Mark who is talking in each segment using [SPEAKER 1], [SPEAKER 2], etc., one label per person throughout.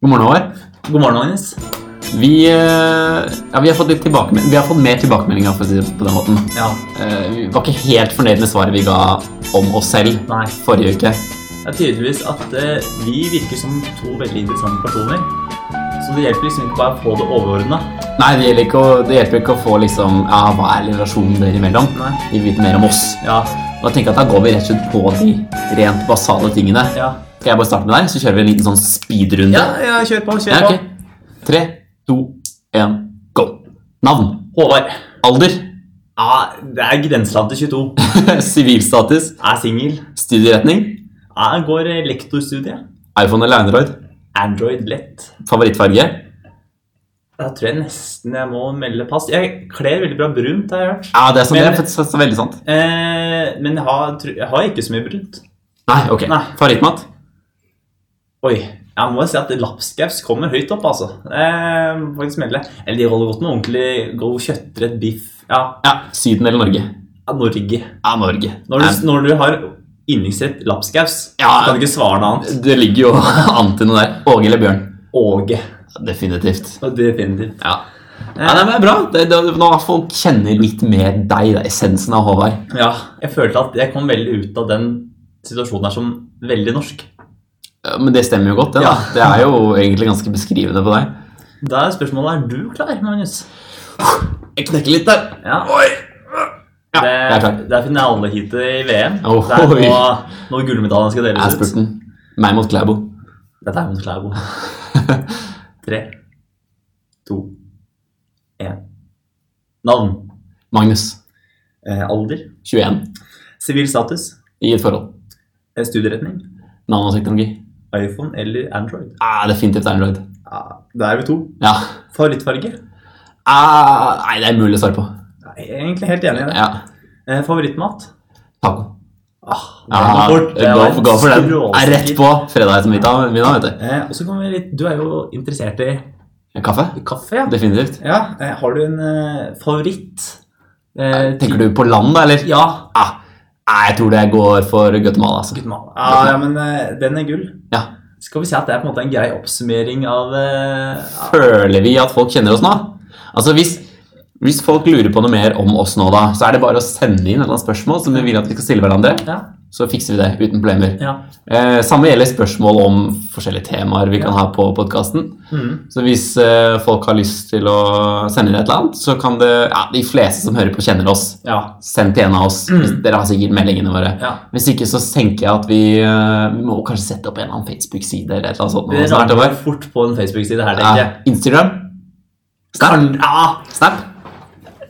[SPEAKER 1] God morgen, Håvard.
[SPEAKER 2] God morgen, Agnes.
[SPEAKER 1] Vi, eh, ja, vi, har fått litt tilbakemelding- vi har fått mer tilbakemeldinger for å si det på den måten.
[SPEAKER 2] Ja,
[SPEAKER 1] Eh, vi var ikke helt fornøyd med svaret vi ga om oss selv
[SPEAKER 2] nei.
[SPEAKER 1] forrige uke.
[SPEAKER 2] Det er tydeligvis at eh, vi virker som to veldig interessante personer. Så det hjelper liksom ikke bare å få det overordna.
[SPEAKER 1] Nei, det, gjelder ikke å, det hjelper ikke å få liksom, ja, hva er relasjonen dere imellom?
[SPEAKER 2] Nei.
[SPEAKER 1] Vi vil vite mer om oss.
[SPEAKER 2] Ja,
[SPEAKER 1] Og jeg tenker at Da går vi rett og slett på de rent basale tingene.
[SPEAKER 2] ja.
[SPEAKER 1] Skal jeg bare starte med deg, så kjører vi en liten sånn speedrunde?
[SPEAKER 2] Ja, ja kjør på. kjør
[SPEAKER 1] Ja,
[SPEAKER 2] på.
[SPEAKER 1] ok. Tre, to, én, go. Navn.
[SPEAKER 2] Håvard.
[SPEAKER 1] Alder.
[SPEAKER 2] Ja, det er grenseland til 22.
[SPEAKER 1] Sivilstatus.
[SPEAKER 2] Er singel.
[SPEAKER 1] Studieretning.
[SPEAKER 2] Ja, går eh, lektorstudiet.
[SPEAKER 1] iPhone eller Android.
[SPEAKER 2] Android lett.
[SPEAKER 1] Favorittfarge.
[SPEAKER 2] Da tror jeg nesten jeg må melde pass. Jeg kler veldig bra brunt, har jeg hørt.
[SPEAKER 1] Ja, det er, sant, det
[SPEAKER 2] Men-
[SPEAKER 1] er faktisk så- så veldig sant.
[SPEAKER 2] Eh, men jeg har, tru- jeg har ikke så mye brunt.
[SPEAKER 1] Nei, ok.
[SPEAKER 2] Nei.
[SPEAKER 1] Favorittmat.
[SPEAKER 2] Oi. Jeg må si at lapskaus kommer høyt opp, altså. Eh, må faktisk melde. Eller de holder godt med ordentlig god kjøttrett, biff Ja,
[SPEAKER 1] Ja, Syden eller Norge?
[SPEAKER 2] ja, Norge.
[SPEAKER 1] Ja, Norge.
[SPEAKER 2] Når du,
[SPEAKER 1] Nei,
[SPEAKER 2] når du har yndlingsrett lapskaus,
[SPEAKER 1] Ja.
[SPEAKER 2] så kan du ikke svare noe annet.
[SPEAKER 1] det ligger jo an til noe der. Åge eller Bjørn?
[SPEAKER 2] Åge.
[SPEAKER 1] Ja, Definitivt.
[SPEAKER 2] Og Definitivt.
[SPEAKER 1] Ja. Ja, nei, men det er bra. Det, det, nå folk kjenner litt mer deg, det er essensen av Håvard.
[SPEAKER 2] Ja, jeg følte at jeg kom veldig ut av den situasjonen her som veldig norsk.
[SPEAKER 1] Ja, Men det stemmer jo godt, det. da.
[SPEAKER 2] Ja.
[SPEAKER 1] Det er jo egentlig ganske beskrivende på deg.
[SPEAKER 2] Da er spørsmålet er du klar, Magnus.
[SPEAKER 1] Jeg knekker litt der.
[SPEAKER 2] Ja.
[SPEAKER 1] Oi! Ja,
[SPEAKER 2] det,
[SPEAKER 1] jeg er klar.
[SPEAKER 2] det er finaleheatet i VM.
[SPEAKER 1] Ohoi.
[SPEAKER 2] Det er nå, nå gullmedaljen skal
[SPEAKER 1] Jeg er
[SPEAKER 2] deles ut.
[SPEAKER 1] spurten. Meg mot Klæbo.
[SPEAKER 2] Dette er mot Klæbo. Tre, to, én. Navn.
[SPEAKER 1] Magnus.
[SPEAKER 2] Eh, alder.
[SPEAKER 1] 21.
[SPEAKER 2] Sivil status.
[SPEAKER 1] I et forhold.
[SPEAKER 2] Eh, studieretning.
[SPEAKER 1] Nanoteknologi.
[SPEAKER 2] iPhone eller Android.
[SPEAKER 1] Ja, definitivt Android.
[SPEAKER 2] Ja, da er vi to.
[SPEAKER 1] Ja.
[SPEAKER 2] Favorittfarge?
[SPEAKER 1] Ah, nei, det er mulig å svare på.
[SPEAKER 2] Ja, Jeg er egentlig helt enig i det.
[SPEAKER 1] Ja.
[SPEAKER 2] Eh, favorittmat?
[SPEAKER 1] Taco.
[SPEAKER 2] Ah, det
[SPEAKER 1] Ja,
[SPEAKER 2] var fort. Det
[SPEAKER 1] gå,
[SPEAKER 2] var
[SPEAKER 1] gå for den.
[SPEAKER 2] skråsikker.
[SPEAKER 1] Er rett på fredagsmiddag, middag, vet
[SPEAKER 2] Eh, og så kommer vi litt Du er jo interessert i
[SPEAKER 1] du. Kaffe?
[SPEAKER 2] kaffe, ja?
[SPEAKER 1] Definitivt.
[SPEAKER 2] ja eh, har du en eh, favoritt? Eh,
[SPEAKER 1] Tenker du på land, da, eller?
[SPEAKER 2] Ja.
[SPEAKER 1] Ah, nei, jeg tror det går for Guatemala, altså.
[SPEAKER 2] Guttmann. Ja, ja, men eh, den er gull.
[SPEAKER 1] Ja.
[SPEAKER 2] Skal vi si at det er på en måte en grei oppsummering av eh, ja,
[SPEAKER 1] Føler vi at folk kjenner oss nå? Altså, hvis, hvis folk lurer på noe mer om oss nå, da, så er det bare å sende inn et eller annet spørsmål som vi vil at vi skal stille hverandre,
[SPEAKER 2] ja,
[SPEAKER 1] så fikser vi det uten problemer.
[SPEAKER 2] ja.
[SPEAKER 1] Eh, samme gjelder spørsmål om forskjellige temaer vi kan ha på podkasten.
[SPEAKER 2] Mm.
[SPEAKER 1] Så hvis eh, folk har lyst til å sende inn et eller annet, så kan det Ja, de fleste som hører på, kjenner oss.
[SPEAKER 2] ja.
[SPEAKER 1] Send til en av oss. Hvis, dere har sikkert meldingene våre.
[SPEAKER 2] Mm. Ja.
[SPEAKER 1] Hvis ikke så tenker jeg at vi, eh, vi må kanskje sette opp en eller annen Facebook-side eller et eller annet sånt.
[SPEAKER 2] Det
[SPEAKER 1] nå snart,
[SPEAKER 2] ramler
[SPEAKER 1] over.
[SPEAKER 2] fort på en Facebook-side her, tenker jeg.
[SPEAKER 1] Ja, Instagram? Snap?
[SPEAKER 2] Ja,
[SPEAKER 1] Snap?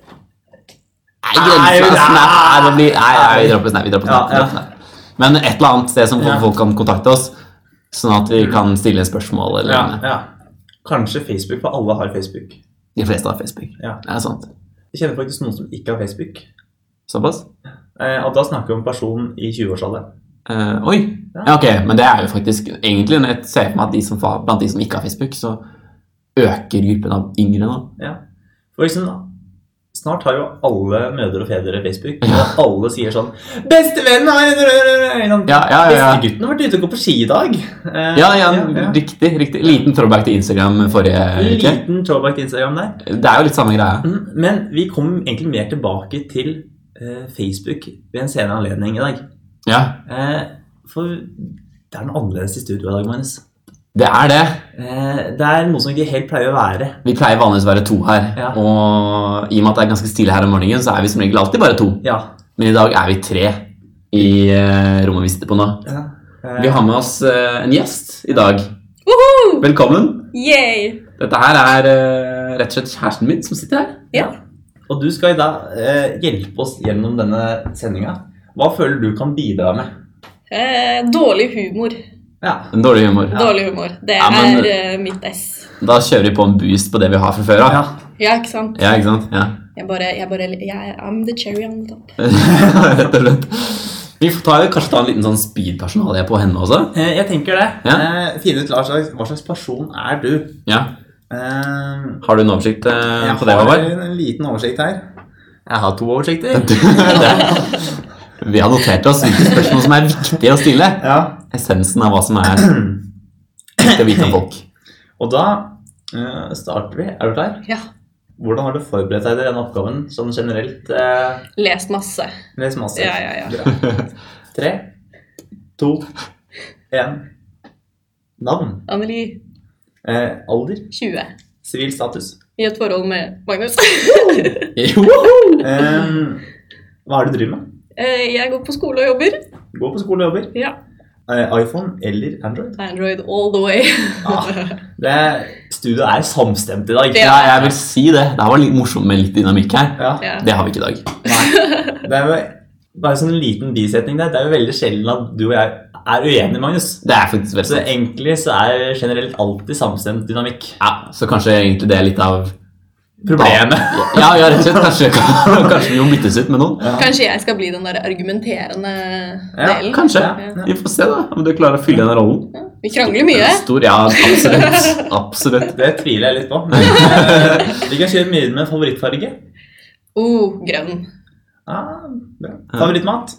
[SPEAKER 1] Nei,
[SPEAKER 2] Nei,
[SPEAKER 1] grensen er
[SPEAKER 2] nei.
[SPEAKER 1] Snap. Nei, det blir, nei, nei, vi drar på Snap. Vi drar på
[SPEAKER 2] Ja,
[SPEAKER 1] snap, vi drar på
[SPEAKER 2] ja.
[SPEAKER 1] snap. Men et eller annet sted som
[SPEAKER 2] Ja.
[SPEAKER 1] folk kan kontakte oss, sånn at vi kan stille spørsmål eller
[SPEAKER 2] ja,
[SPEAKER 1] lignende.
[SPEAKER 2] ja. Kanskje Facebook, for alle har Facebook.
[SPEAKER 1] De fleste har Facebook.
[SPEAKER 2] Ja.
[SPEAKER 1] Det er sant.
[SPEAKER 2] Jeg kjenner faktisk noen som ikke har Facebook.
[SPEAKER 1] Såpass?
[SPEAKER 2] Eh, og da snakker vi om en person i 20-årsalderen.
[SPEAKER 1] Eh, oi!
[SPEAKER 2] Ja.
[SPEAKER 1] Ja, ok, men det er jo faktisk egentlig når jeg ser for meg at de som, fa- blant de som ikke har Facebook, så øker gruppen av yngre nå.
[SPEAKER 2] Ja. For liksom, snart har jo alle mødre og fedre Facebook, og alle sier sånn 'Bestevennen har en
[SPEAKER 1] Ja, ja, ja. ja.
[SPEAKER 2] Bestegutten sånn. har vært ute og gått på ski i dag. Eh,
[SPEAKER 1] Ja, ja,
[SPEAKER 2] ja.
[SPEAKER 1] riktig. riktig. Liten throwback til Instagram forrige uke.
[SPEAKER 2] Liten throwback til Instagram der.
[SPEAKER 1] Det er jo litt samme greia.
[SPEAKER 2] Mm, Men vi kom egentlig mer tilbake til eh, Facebook ved en senere anledning i dag.
[SPEAKER 1] Ja,
[SPEAKER 2] Eh, for det er noe annerledes i studio i dag, Magnus.
[SPEAKER 1] det er det.
[SPEAKER 2] Eh, det er noe som ikke helt pleier å være.
[SPEAKER 1] Vi pleier vanligvis å være to her.
[SPEAKER 2] Ja.
[SPEAKER 1] Og i og med at det er ganske stille her om morgenen, så er vi som regel alltid bare to.
[SPEAKER 2] Ja.
[SPEAKER 1] Men i dag er vi tre i eh, rommet vi sitter på nå.
[SPEAKER 2] Eh,
[SPEAKER 1] Vi har med oss eh, en gjest i dag. Velkommen.
[SPEAKER 3] Yay!
[SPEAKER 1] Dette her er eh, rett og slett kjæresten min som sitter her.
[SPEAKER 2] Og du skal i dag eh, hjelpe oss gjennom denne sendinga. Hva føler du kan bidra med?
[SPEAKER 3] Eh, dårlig humor.
[SPEAKER 2] Ja.
[SPEAKER 1] En dårlig humor.
[SPEAKER 3] Dårlig humor. Det
[SPEAKER 1] Ja, men-
[SPEAKER 3] er eh, mitt ess.
[SPEAKER 1] Da kjører vi på en boost på det vi har fra før av.
[SPEAKER 2] ja.
[SPEAKER 3] Ja, ikke sant?
[SPEAKER 1] Ja, ikke sant? Ja.
[SPEAKER 3] Jeg bare, jeg bare jeg, I'm the cherry on the top.
[SPEAKER 1] Rett og slett. Vi får ta, kanskje ta en liten sånn speed-personalie på henne også?
[SPEAKER 2] Eh, jeg tenker det.
[SPEAKER 1] Ja.
[SPEAKER 2] Eh, finne ut hva slags, hva slags person er du.
[SPEAKER 1] Ja.
[SPEAKER 2] Eh,
[SPEAKER 1] Har du en oversikt eh,
[SPEAKER 2] jeg
[SPEAKER 1] på det,
[SPEAKER 2] har
[SPEAKER 1] Håvard?
[SPEAKER 2] en liten oversikt her. Jeg har to oversikter.
[SPEAKER 1] Vi har notert oss hvilke spørsmål som er viktige å stille.
[SPEAKER 2] Ja.
[SPEAKER 1] Essensen av hva som er viktig å vite om folk.
[SPEAKER 2] Og da eh, starter vi. Er du klar?
[SPEAKER 3] Ja.
[SPEAKER 2] Hvordan har du forberedt deg til denne oppgaven sånn generelt? Eh,
[SPEAKER 3] Lest masse.
[SPEAKER 2] les masse.
[SPEAKER 3] Ja, ja, ja.
[SPEAKER 2] Bra. Tre, to, én. Navn.
[SPEAKER 3] Anneli,
[SPEAKER 2] Eh, alder.
[SPEAKER 3] 20.
[SPEAKER 2] Sivil status.
[SPEAKER 3] I et forhold med Magnus.
[SPEAKER 1] Joho!
[SPEAKER 2] Eh, hva er det du driver med?
[SPEAKER 3] Eh, Jeg går på skole og jobber.
[SPEAKER 2] Går på skole og jobber.
[SPEAKER 3] Ja.
[SPEAKER 2] Eh, iPhone eller Android?
[SPEAKER 3] Android all the way.
[SPEAKER 2] Ah, det, studiet er samstemt i dag.
[SPEAKER 3] Ja.
[SPEAKER 1] Ja, jeg vil si det. Det her var litt morsomt med litt dynamikk her.
[SPEAKER 2] Ja.
[SPEAKER 3] Ja.
[SPEAKER 1] Det har vi ikke i dag.
[SPEAKER 2] Det er jo bare en sånn liten bisetning der. Det er jo veldig sjelden at du og jeg er uenige, Magnus.
[SPEAKER 1] Det er faktisk veldig
[SPEAKER 2] Så
[SPEAKER 1] sant.
[SPEAKER 2] egentlig så er generelt alltid samstemt dynamikk.
[SPEAKER 1] Ja, så kanskje egentlig det er litt av
[SPEAKER 2] Problemet.
[SPEAKER 1] Ja, ja rett og slett. Kanskje, kanskje vi må byttes ut med noen.
[SPEAKER 3] Kanskje jeg skal bli den der argumenterende
[SPEAKER 2] Ja,
[SPEAKER 3] delen.
[SPEAKER 1] Kanskje.
[SPEAKER 3] Ja.
[SPEAKER 1] Vi får se da, om du klarer å fylle den rollen.
[SPEAKER 3] Ja. Vi krangler mye.
[SPEAKER 1] Stor, ja, absolutt. Absolutt.
[SPEAKER 2] Det tviler jeg litt på. Men, eh, vi kan kjøre mye med favorittfarge.
[SPEAKER 3] Oh, grønn.
[SPEAKER 2] Ah, bra. Favorittmat?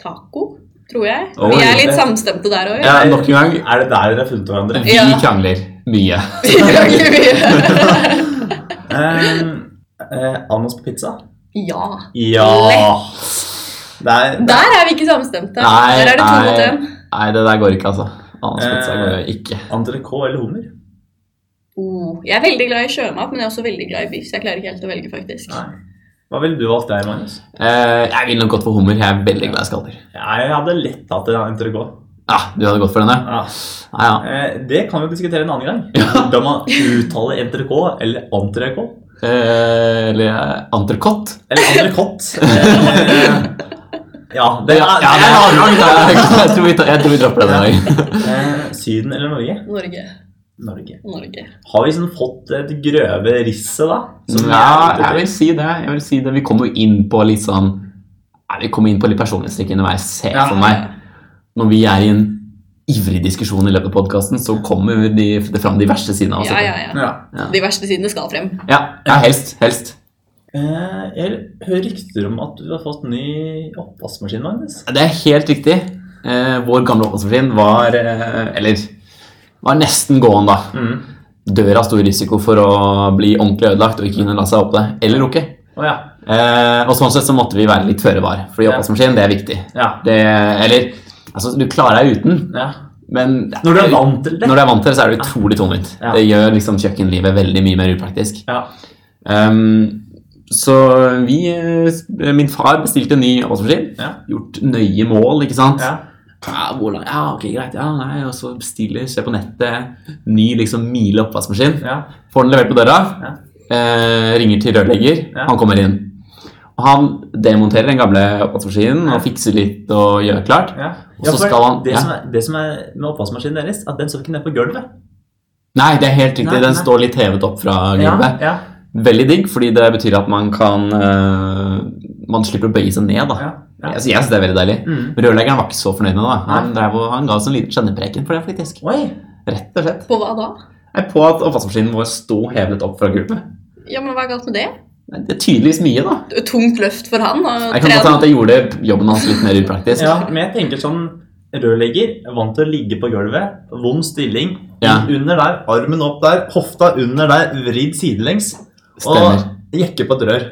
[SPEAKER 3] Taco, tror jeg.
[SPEAKER 1] Oi.
[SPEAKER 3] Vi er litt samstemte der òg.
[SPEAKER 1] Ja, nok en gang.
[SPEAKER 2] Er det der dere har funnet hverandre?
[SPEAKER 1] Vi
[SPEAKER 3] Ja.
[SPEAKER 1] krangler mye.
[SPEAKER 3] Vi krangler mye.
[SPEAKER 2] Eh, eh, Annos på pizza?
[SPEAKER 3] Ja.
[SPEAKER 2] Ja! Det er,
[SPEAKER 3] Der er vi ikke samstemte.
[SPEAKER 1] Nei,
[SPEAKER 3] Der er det to
[SPEAKER 1] nei.
[SPEAKER 3] mot én.
[SPEAKER 1] Nei, det der går ikke, altså. Annars pizza går jo ikke.
[SPEAKER 2] Entrecôte eller hummer?
[SPEAKER 3] Oh, jeg er veldig glad i sjømat, men jeg er også veldig glad i biff. Så jeg klarer ikke helt å velge, faktisk.
[SPEAKER 2] Nei. Hva ville du valgt der, Magnus?
[SPEAKER 1] Eh, jeg vil nok gått for hummer. Jeg er veldig glad i skaller.
[SPEAKER 2] Jeg hadde lett tatt en entrecôte.
[SPEAKER 1] Ja, du hadde gått for den der?
[SPEAKER 2] Ja.
[SPEAKER 1] Ja, ja.
[SPEAKER 2] Eh, det kan vi diskutere en annen gang. Hvordan man uttaler entrecôte eller entrecôte.
[SPEAKER 1] Eh, eller entrecôte.
[SPEAKER 2] Eller entrecôte. Eh, ja, det,
[SPEAKER 1] Ja, det er avlang. Jeg tror vi, tar- jeg tror vi dropper den i dag.
[SPEAKER 2] Eh, Syden eller Norge?
[SPEAKER 3] Norge.
[SPEAKER 2] Norge.
[SPEAKER 3] Norge.
[SPEAKER 2] Har vi sånn fått et grøve risset, da? Som vi er
[SPEAKER 1] Mm. Ja,
[SPEAKER 2] ute
[SPEAKER 1] jeg
[SPEAKER 2] etter?
[SPEAKER 1] vil si det. Jeg vil si det. Vi kommer jo inn på litt sånn ja, Vi kommer inn på litt personlighetstrekk underveis. Se
[SPEAKER 2] Ja.
[SPEAKER 1] for meg. Når vi er i en ivrig diskusjon i løpet av podkasten, så kommer de, det fram de verste sidene av oss.
[SPEAKER 3] Ja, ja, ja.
[SPEAKER 2] ja.
[SPEAKER 3] De verste sidene skal frem.
[SPEAKER 1] Ja, ja, helst. Helst.
[SPEAKER 2] Eh, jeg hører rykter om at du har fått ny oppvaskmaskin, Magnus.
[SPEAKER 1] Det er helt riktig. Eh, vår gamle oppvaskmaskin var eh, Eller var nesten gåen, da.
[SPEAKER 2] Mm.
[SPEAKER 1] Døra sto i risiko for å bli ordentlig ødelagt og ikke kunne la seg åpne. Eller lukke.
[SPEAKER 2] Å ja.
[SPEAKER 1] Eh, og sånn sett så måtte vi være litt føre var, fordi
[SPEAKER 2] Ja.
[SPEAKER 1] oppvaskmaskin, det er viktig.
[SPEAKER 2] ja.
[SPEAKER 1] Det, eller altså, du klarer deg uten,
[SPEAKER 2] ja.
[SPEAKER 1] men
[SPEAKER 2] Når du er vant til det.
[SPEAKER 1] Når du er vant til det, så er det utrolig tungvint.
[SPEAKER 2] Ja.
[SPEAKER 1] Det gjør liksom kjøkkenlivet veldig mye mer upraktisk.
[SPEAKER 2] Ja.
[SPEAKER 1] Ehm, så vi eh, s- Min far bestilte en ny oppvaskmaskin.
[SPEAKER 2] Ja.
[SPEAKER 1] Gjort nøye mål, ikke sant.
[SPEAKER 2] Ja.
[SPEAKER 1] Ja, hvor lang- ja, ok, greit. Ja, nei, og så bestiller, ser på nettet, ny liksom mile oppvaskmaskin.
[SPEAKER 2] Ja.
[SPEAKER 1] Får den levert på døra. Eh, ringer til rørlegger.
[SPEAKER 2] Ja.
[SPEAKER 1] Han kommer inn. Og han demonterer den gamle oppvaskmaskinen og fikser litt og gjør klart.
[SPEAKER 2] Ja.
[SPEAKER 1] Og så
[SPEAKER 2] for
[SPEAKER 1] skal han-
[SPEAKER 2] det,
[SPEAKER 1] ja.
[SPEAKER 2] som er, det som er med oppvaskmaskinen deres, at den står ikke ned på gulvet.
[SPEAKER 1] Nei, det er helt riktig.
[SPEAKER 2] Nei,
[SPEAKER 1] Den
[SPEAKER 2] nei.
[SPEAKER 1] står litt hevet opp fra
[SPEAKER 2] Ja,
[SPEAKER 1] gulvet.
[SPEAKER 2] ja,
[SPEAKER 1] Veldig digg, fordi det betyr at man kan eh, Man slipper å bøye seg ned, da.
[SPEAKER 2] ja, ja.
[SPEAKER 1] Jeg, sy- jeg syns det er veldig deilig.
[SPEAKER 2] Mm.
[SPEAKER 1] Rørleggeren var ikke så fornøyd med det. da. Han,
[SPEAKER 2] Nei.
[SPEAKER 1] drev, og- han ga oss en liten kjennepreken for det, faktisk.
[SPEAKER 2] Oi!
[SPEAKER 1] Rett og slett.
[SPEAKER 3] På hva da?
[SPEAKER 1] Nei, På at oppvaskmaskinen vår sto hevet opp fra gulvet.
[SPEAKER 3] Ja, men Hva er galt med det?
[SPEAKER 1] Nei, Det er tydeligvis mye, da.
[SPEAKER 3] Tungt løft for han. Og
[SPEAKER 1] Jeg kan godt
[SPEAKER 3] trene.
[SPEAKER 1] hende at jeg gjorde jobben hans litt mer upraktisk.
[SPEAKER 2] Ja, men jeg tenker sånn Rørlegger, vant til å ligge på gulvet, vond stilling.
[SPEAKER 1] Ja.
[SPEAKER 2] Under der, armen opp der, hofta under der, vridd sidelengs.
[SPEAKER 1] Stemmer.
[SPEAKER 2] Og jekke på et rør.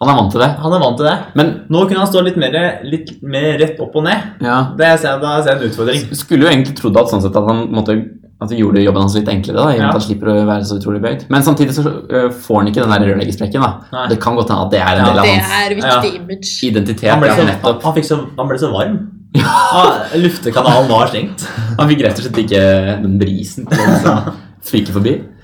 [SPEAKER 1] Han er vant til det.
[SPEAKER 2] Han er vant til det.
[SPEAKER 1] Men
[SPEAKER 2] Nå kunne han stå litt mer, litt mer rett opp og ned.
[SPEAKER 1] ja,
[SPEAKER 2] Det ser jeg, da ser jeg en utfordring.
[SPEAKER 1] skulle jo egentlig trodd at, sånn sett, at han måtte at vi gjorde jobben hans litt enklere. da, i og med
[SPEAKER 2] Ja.
[SPEAKER 1] at han slipper å være så utrolig bøyd. Men samtidig så øh, får han ikke den der rørleggersprekken. da.
[SPEAKER 2] Nei.
[SPEAKER 1] Det kan godt hende at det er en
[SPEAKER 2] Ja.
[SPEAKER 1] del av
[SPEAKER 3] Det
[SPEAKER 1] hans
[SPEAKER 3] er viktig image.
[SPEAKER 1] identitet.
[SPEAKER 2] Han ble
[SPEAKER 1] ja,
[SPEAKER 2] så,
[SPEAKER 1] nettopp.
[SPEAKER 2] han, fikk så, han ble så varm. Ah, Luftekanalen var stengt.
[SPEAKER 1] Han fikk rett og slett ikke den brisen til å liksom fyke forbi.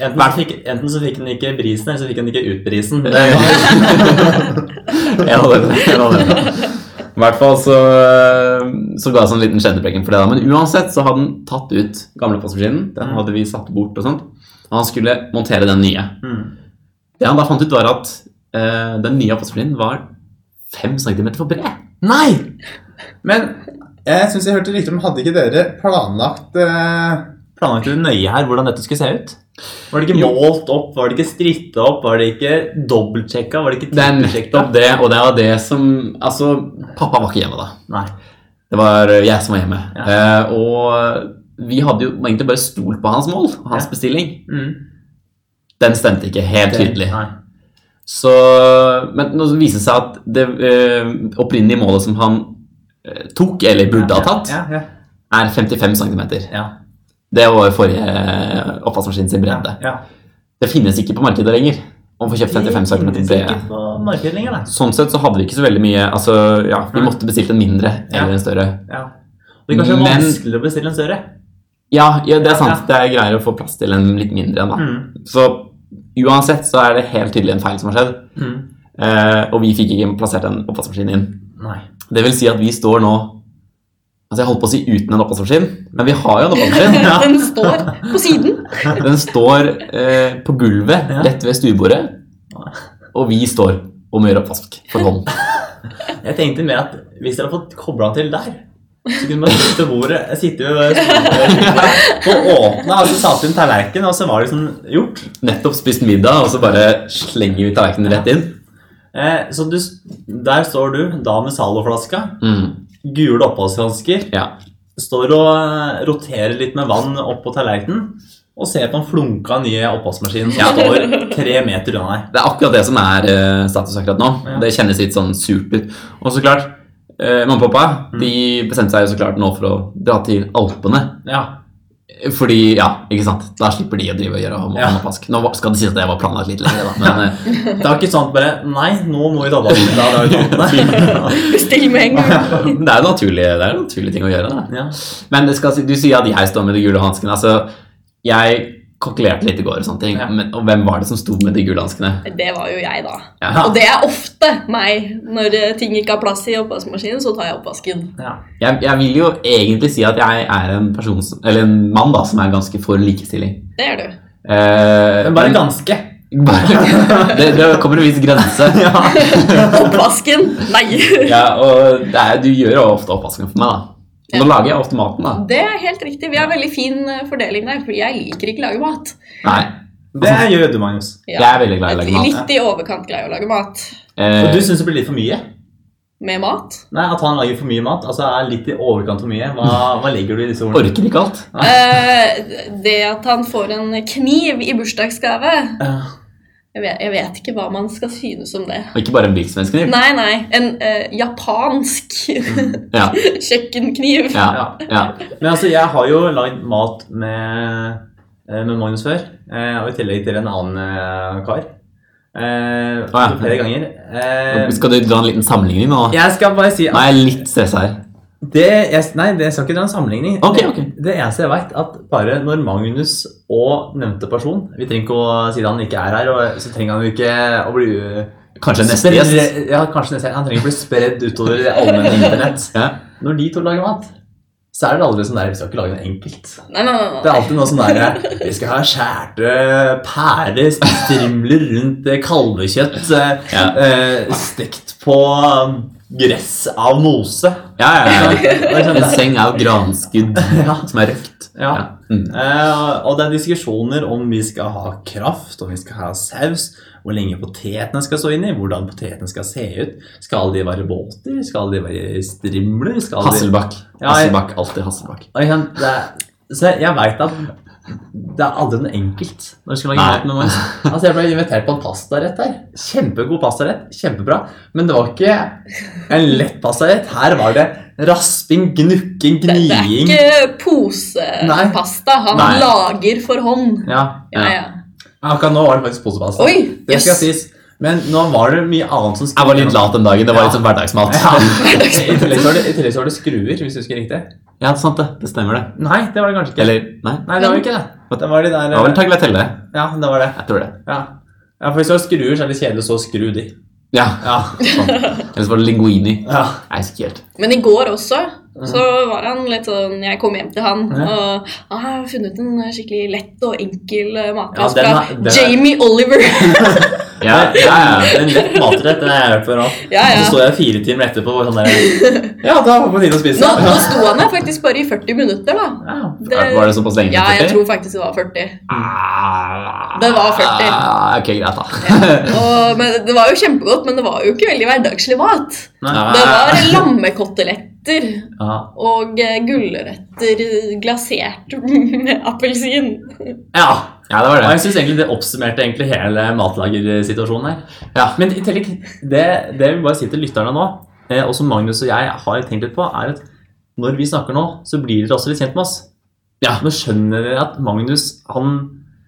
[SPEAKER 2] Enten så, fikk, enten så fikk han ikke brisen, eller så fikk han ikke ut brisen. Det,
[SPEAKER 1] Eh, en av dem, en av dem. I hvert fall så, så ga jeg sånn liten skjeddepreken for det. da, Men uansett så hadde han tatt ut gamle postmaskinen. Den hadde vi satt bort og sånt. Og han skulle montere den nye.
[SPEAKER 2] mm.
[SPEAKER 1] Det han da fant ut, var at eh, den nye postmaskinen var fem centimeter for bred.
[SPEAKER 2] Nei!
[SPEAKER 4] Men jeg syns jeg hørte rykter om Hadde ikke dere planlagt eh,
[SPEAKER 2] Planlagt du nøye her hvordan dette skulle se ut? Var det ikke
[SPEAKER 1] Jo.
[SPEAKER 2] målt opp? Var det ikke stritta opp? Var det ikke dobbeltsjekka? Var det ikke
[SPEAKER 1] Det er
[SPEAKER 2] trippelsjekka?
[SPEAKER 1] nettopp det, og det var det som Altså, pappa var ikke hjemme da.
[SPEAKER 2] Nei.
[SPEAKER 1] Det var jeg som var hjemme.
[SPEAKER 2] Ja.
[SPEAKER 1] Eh, og vi hadde jo egentlig bare stolt på hans mål, og hans
[SPEAKER 2] Ja.
[SPEAKER 1] bestilling.
[SPEAKER 2] Mm.
[SPEAKER 1] Den stemte ikke helt tydelig.
[SPEAKER 2] Nei.
[SPEAKER 1] Så, men nå viser det seg at det eh, opprinnelige målet som han eh, tok, eller burde ha tatt,
[SPEAKER 2] Ja, ja,
[SPEAKER 1] er 55 cm.
[SPEAKER 2] ja,
[SPEAKER 1] Det var forrige eh, oppvaskmaskin sin
[SPEAKER 2] ja,
[SPEAKER 1] bredde.
[SPEAKER 2] ja.
[SPEAKER 1] Det finnes ikke på markedet lenger. Å få kjøpt 55 cm
[SPEAKER 2] Det finnes
[SPEAKER 1] bredde.
[SPEAKER 2] ikke på markedet lenger, nei.
[SPEAKER 1] Sånn sett så hadde vi ikke så veldig mye altså, ja, Vi
[SPEAKER 2] Nei.
[SPEAKER 1] måtte bestilt en mindre
[SPEAKER 2] Ja.
[SPEAKER 1] eller en større.
[SPEAKER 2] Ja. Og det er kanskje
[SPEAKER 1] Men-
[SPEAKER 2] vanskeligere å bestille en større.
[SPEAKER 1] Ja, ja det er sant. Det er greier å få plass til en litt mindre en, da.
[SPEAKER 2] Mm.
[SPEAKER 1] Så uansett så er det helt tydelig en feil som har skjedd.
[SPEAKER 2] Mm.
[SPEAKER 1] Eh, og vi fikk ikke plassert en oppvaskmaskin inn.
[SPEAKER 2] Nei.
[SPEAKER 1] Det vil si at vi står nå Altså Jeg holdt på å si uten en oppvaskmaskin, men vi har jo en oppvaskmaskin.
[SPEAKER 3] Den står på siden.
[SPEAKER 1] Den står eh, på gulvet
[SPEAKER 2] Ja.
[SPEAKER 1] rett ved stuebordet, og vi står og må gjøre oppvask for hånd.
[SPEAKER 2] Jeg tenkte mer at hvis dere hadde fått kobla den til der, så kunne man sitte ved bordet sitte ved bordet og åpne, og så satte hun tallerkenen, og så var det liksom gjort.
[SPEAKER 1] Nettopp spist middag, og så bare slenger vi tallerkenen rett inn.
[SPEAKER 2] Eh, så du, der står du, da med Zalo-flaska,
[SPEAKER 1] Mm,
[SPEAKER 2] gule oppholdshansker,
[SPEAKER 1] ja.
[SPEAKER 2] står og eh, roterer litt med vann opp på tallerkenen, og ser på den flunka nye oppvaskmaskinen som står tre meter unna deg.
[SPEAKER 1] Det er akkurat det som er eh, status akkurat nå.
[SPEAKER 2] Ja.
[SPEAKER 1] Det kjennes litt sånn surt ut. Og så klart, eh, mamma og pappa
[SPEAKER 2] Mm.
[SPEAKER 1] de bestemte seg jo så klart nå for å dra til Alpene.
[SPEAKER 2] Ja,
[SPEAKER 1] Fordi, ja, ikke sant. Da slipper de å drive og gjøre hom-
[SPEAKER 2] Ja.
[SPEAKER 1] håndvask. Nå skal det sies at jeg var planlagt litt lenger, da. Men eh,
[SPEAKER 2] Det var ikke sånn at bare Nei, nå må vi ta vatten. Da, da, da,
[SPEAKER 3] Bestill med en gang.
[SPEAKER 1] det er jo naturlig, det er jo naturlig ting å gjøre. Da.
[SPEAKER 2] Ja.
[SPEAKER 1] Men det skal, si- du sier at jeg står med de gule hanskene. Altså, jeg kokkelerte litt i går, og sånne ting.
[SPEAKER 2] Ja.
[SPEAKER 1] Men, og hvem var det som sto med de gule hanskene?
[SPEAKER 3] Det var jo jeg, da.
[SPEAKER 1] Ja.
[SPEAKER 3] Og det er ofte meg. Når eh, ting ikke har plass i oppvaskmaskinen, så tar jeg oppvasken.
[SPEAKER 2] Ja.
[SPEAKER 1] Jeg, jeg vil jo egentlig si at jeg er en, person, som- eller en mann da, som er ganske for likestilling.
[SPEAKER 3] Det er du.
[SPEAKER 1] Eh,
[SPEAKER 2] Men bare ganske.
[SPEAKER 1] men- bare- det, det kommer en viss grense. ja.
[SPEAKER 3] Oppvasken! Nei!
[SPEAKER 1] og det er, du gjør jo ofte oppvasken for meg, da. Og Nå lager jeg ofte maten, da.
[SPEAKER 3] Det er helt riktig. Vi har veldig fin eh, fordeling der, for jeg liker ikke å lage mat.
[SPEAKER 1] Nei,
[SPEAKER 2] Det gjør du, Magnus.
[SPEAKER 3] Ja.
[SPEAKER 1] jeg er veldig glad i å lage mat.
[SPEAKER 3] Litt i overkant greier å lage mat.
[SPEAKER 1] Eh,
[SPEAKER 2] Og du syns det blir litt for mye?
[SPEAKER 3] Med mat.
[SPEAKER 2] Nei, At han lager for mye mat? Altså er litt i overkant for mye? Hva, hva legger du i disse ordene?
[SPEAKER 1] orker ikke alt.
[SPEAKER 3] Eh, det at han får en kniv i bursdagsgave
[SPEAKER 2] Eh,
[SPEAKER 3] jeg vet, jeg vet ikke hva man skal synes om det.
[SPEAKER 1] Og ikke bare en virksomhetskniv.
[SPEAKER 3] Nei, nei. En eh, japansk
[SPEAKER 1] Ja,
[SPEAKER 3] kjøkkenkniv.
[SPEAKER 1] ja,
[SPEAKER 2] Ja.
[SPEAKER 1] ja.
[SPEAKER 2] Men altså, jeg har jo lagd mat med, eh, med Magnus før. eh, Og i tillegg til en annen eh, kar. Eh,
[SPEAKER 1] Ah, ja.
[SPEAKER 2] Flere ganger. Eh,
[SPEAKER 1] Skal du dra en liten sammenligning nå?
[SPEAKER 2] jeg skal bare si
[SPEAKER 1] Nå
[SPEAKER 2] at
[SPEAKER 1] er jeg litt stressa her.
[SPEAKER 2] det, jeg, Nei, det skal ikke dra en sammenligning.
[SPEAKER 1] Ok, ok.
[SPEAKER 2] Det eneste jeg veit, at bare når Magnus og nevnte person Vi trenger ikke å si at han ikke er her, og så trenger han jo ikke å bli
[SPEAKER 1] Kanskje neste gjest.
[SPEAKER 2] Spre- Ja, kanskje neste gjest. Han trenger å bli spredd utover det allmenne internett.
[SPEAKER 1] Ja.
[SPEAKER 2] Når de to lager mat, så er det aldri sånn der Vi skal ikke lage noe enkelt.
[SPEAKER 3] Nei, nei, nei,
[SPEAKER 2] Det er alltid noe sånn der Vi skal ha skjærte pærer, strimler rundt eh, kalvekjøtt, eh,
[SPEAKER 1] Ja.
[SPEAKER 2] eh, stekt på um, gress av mose.
[SPEAKER 1] Ja, ja, ja.
[SPEAKER 2] Det er sånn
[SPEAKER 1] En
[SPEAKER 2] der-
[SPEAKER 1] seng av granskudd
[SPEAKER 2] Ja.
[SPEAKER 1] som er røkt.
[SPEAKER 2] Ja.
[SPEAKER 1] Ja. Mm.
[SPEAKER 2] Eh, og det er diskusjoner om vi skal ha kraft, om vi skal ha saus, hvor lenge potetene skal stå inni, hvordan potetene skal se ut. Skal de være båter? Skal de være strimler? Skal de...
[SPEAKER 1] Hasselbakk.
[SPEAKER 2] Ja, jeg-
[SPEAKER 1] Hasselbakk, alltid Hasselbakk.
[SPEAKER 2] Og igjen, det er... Så jeg, jeg veit at det er aldri noe enkelt når du skal lage
[SPEAKER 1] Nei.
[SPEAKER 2] mat med Mons. Altså, jeg ble invitert på en pastarett her. Kjempegod pastarett. Kjempebra. Men det var ikke en lett pastarett. Her var det rasping, gnukking,
[SPEAKER 3] Det, det er
[SPEAKER 2] gniing.
[SPEAKER 3] ikke
[SPEAKER 2] Nei.
[SPEAKER 3] posepasta. Han
[SPEAKER 1] Nei.
[SPEAKER 3] lager for hånd.
[SPEAKER 2] Ja,
[SPEAKER 3] Ja, ja.
[SPEAKER 2] Akkurat nå var det faktisk posepasta.
[SPEAKER 3] Oi!
[SPEAKER 2] Det skal
[SPEAKER 3] jøss.
[SPEAKER 2] sies. Men nå var det mye annet som
[SPEAKER 1] Jeg var litt lat den dagen. Det var litt sånn hverdagsmat.
[SPEAKER 2] Ja. I tillegg så var det, i tillegg så var det skruer, hvis du husker riktig.
[SPEAKER 1] Ja, sant det. Det stemmer, det.
[SPEAKER 2] Nei, det var det kanskje ikke.
[SPEAKER 1] Eller nei.
[SPEAKER 2] Nei, det var ikke det. Det var de der
[SPEAKER 1] Det var vel tagliatelle.
[SPEAKER 2] Ja, det var det.
[SPEAKER 1] Jeg tror det.
[SPEAKER 2] Ja. ja, for hvis du har skruer, så er det kjedelig å så skru de.
[SPEAKER 1] Ja.
[SPEAKER 2] Ja.
[SPEAKER 1] Sånn. Ellers var det linguini.
[SPEAKER 2] ja.
[SPEAKER 1] Nei, jeg husker ikke helt.
[SPEAKER 3] Men i går også så var han litt sånn Jeg kom hjem til han,
[SPEAKER 2] Ja.
[SPEAKER 3] og ah, jeg har funnet en skikkelig lett og enkel eh,
[SPEAKER 2] Ja,
[SPEAKER 3] matløs
[SPEAKER 2] den er-
[SPEAKER 3] fra
[SPEAKER 2] den er-
[SPEAKER 3] Jamie Oliver.
[SPEAKER 1] Ja, ja, ja.
[SPEAKER 2] En lett matrett, den har jeg hørt før nå.
[SPEAKER 3] ja, ja.
[SPEAKER 2] Så står jeg fire timer etterpå og sånn der Ja, da var det på tide å
[SPEAKER 3] Nå,
[SPEAKER 2] spise.
[SPEAKER 3] nå sto han her faktisk bare i 40 minutter, da.
[SPEAKER 2] Ja.
[SPEAKER 1] Var det såpass lenge?
[SPEAKER 3] ja, jeg
[SPEAKER 1] Petter?
[SPEAKER 3] tror faktisk det var 40.
[SPEAKER 1] Ah,
[SPEAKER 3] Det var 40.
[SPEAKER 1] Ah, ok, greit, da.
[SPEAKER 3] Og, men det var jo kjempegodt, men det var jo ikke veldig hverdagslig mat.
[SPEAKER 2] Nei.
[SPEAKER 3] Det var lammekoteletter appelsiner
[SPEAKER 2] Ja.
[SPEAKER 3] og eh, gulrøtter glasert med appelsin.
[SPEAKER 2] ja.
[SPEAKER 1] Ja, det var
[SPEAKER 2] Og
[SPEAKER 1] det.
[SPEAKER 2] jeg syns egentlig det oppsummerte egentlig hele matlagersituasjonen her.
[SPEAKER 1] Ja.
[SPEAKER 2] Men i tillegg, det, det vi bare sier til lytterne nå, eh, og som Magnus og jeg har tenkt litt på, er at når vi snakker nå, så blir dere også litt kjent med oss. Ja. Nå skjønner dere at Magnus, han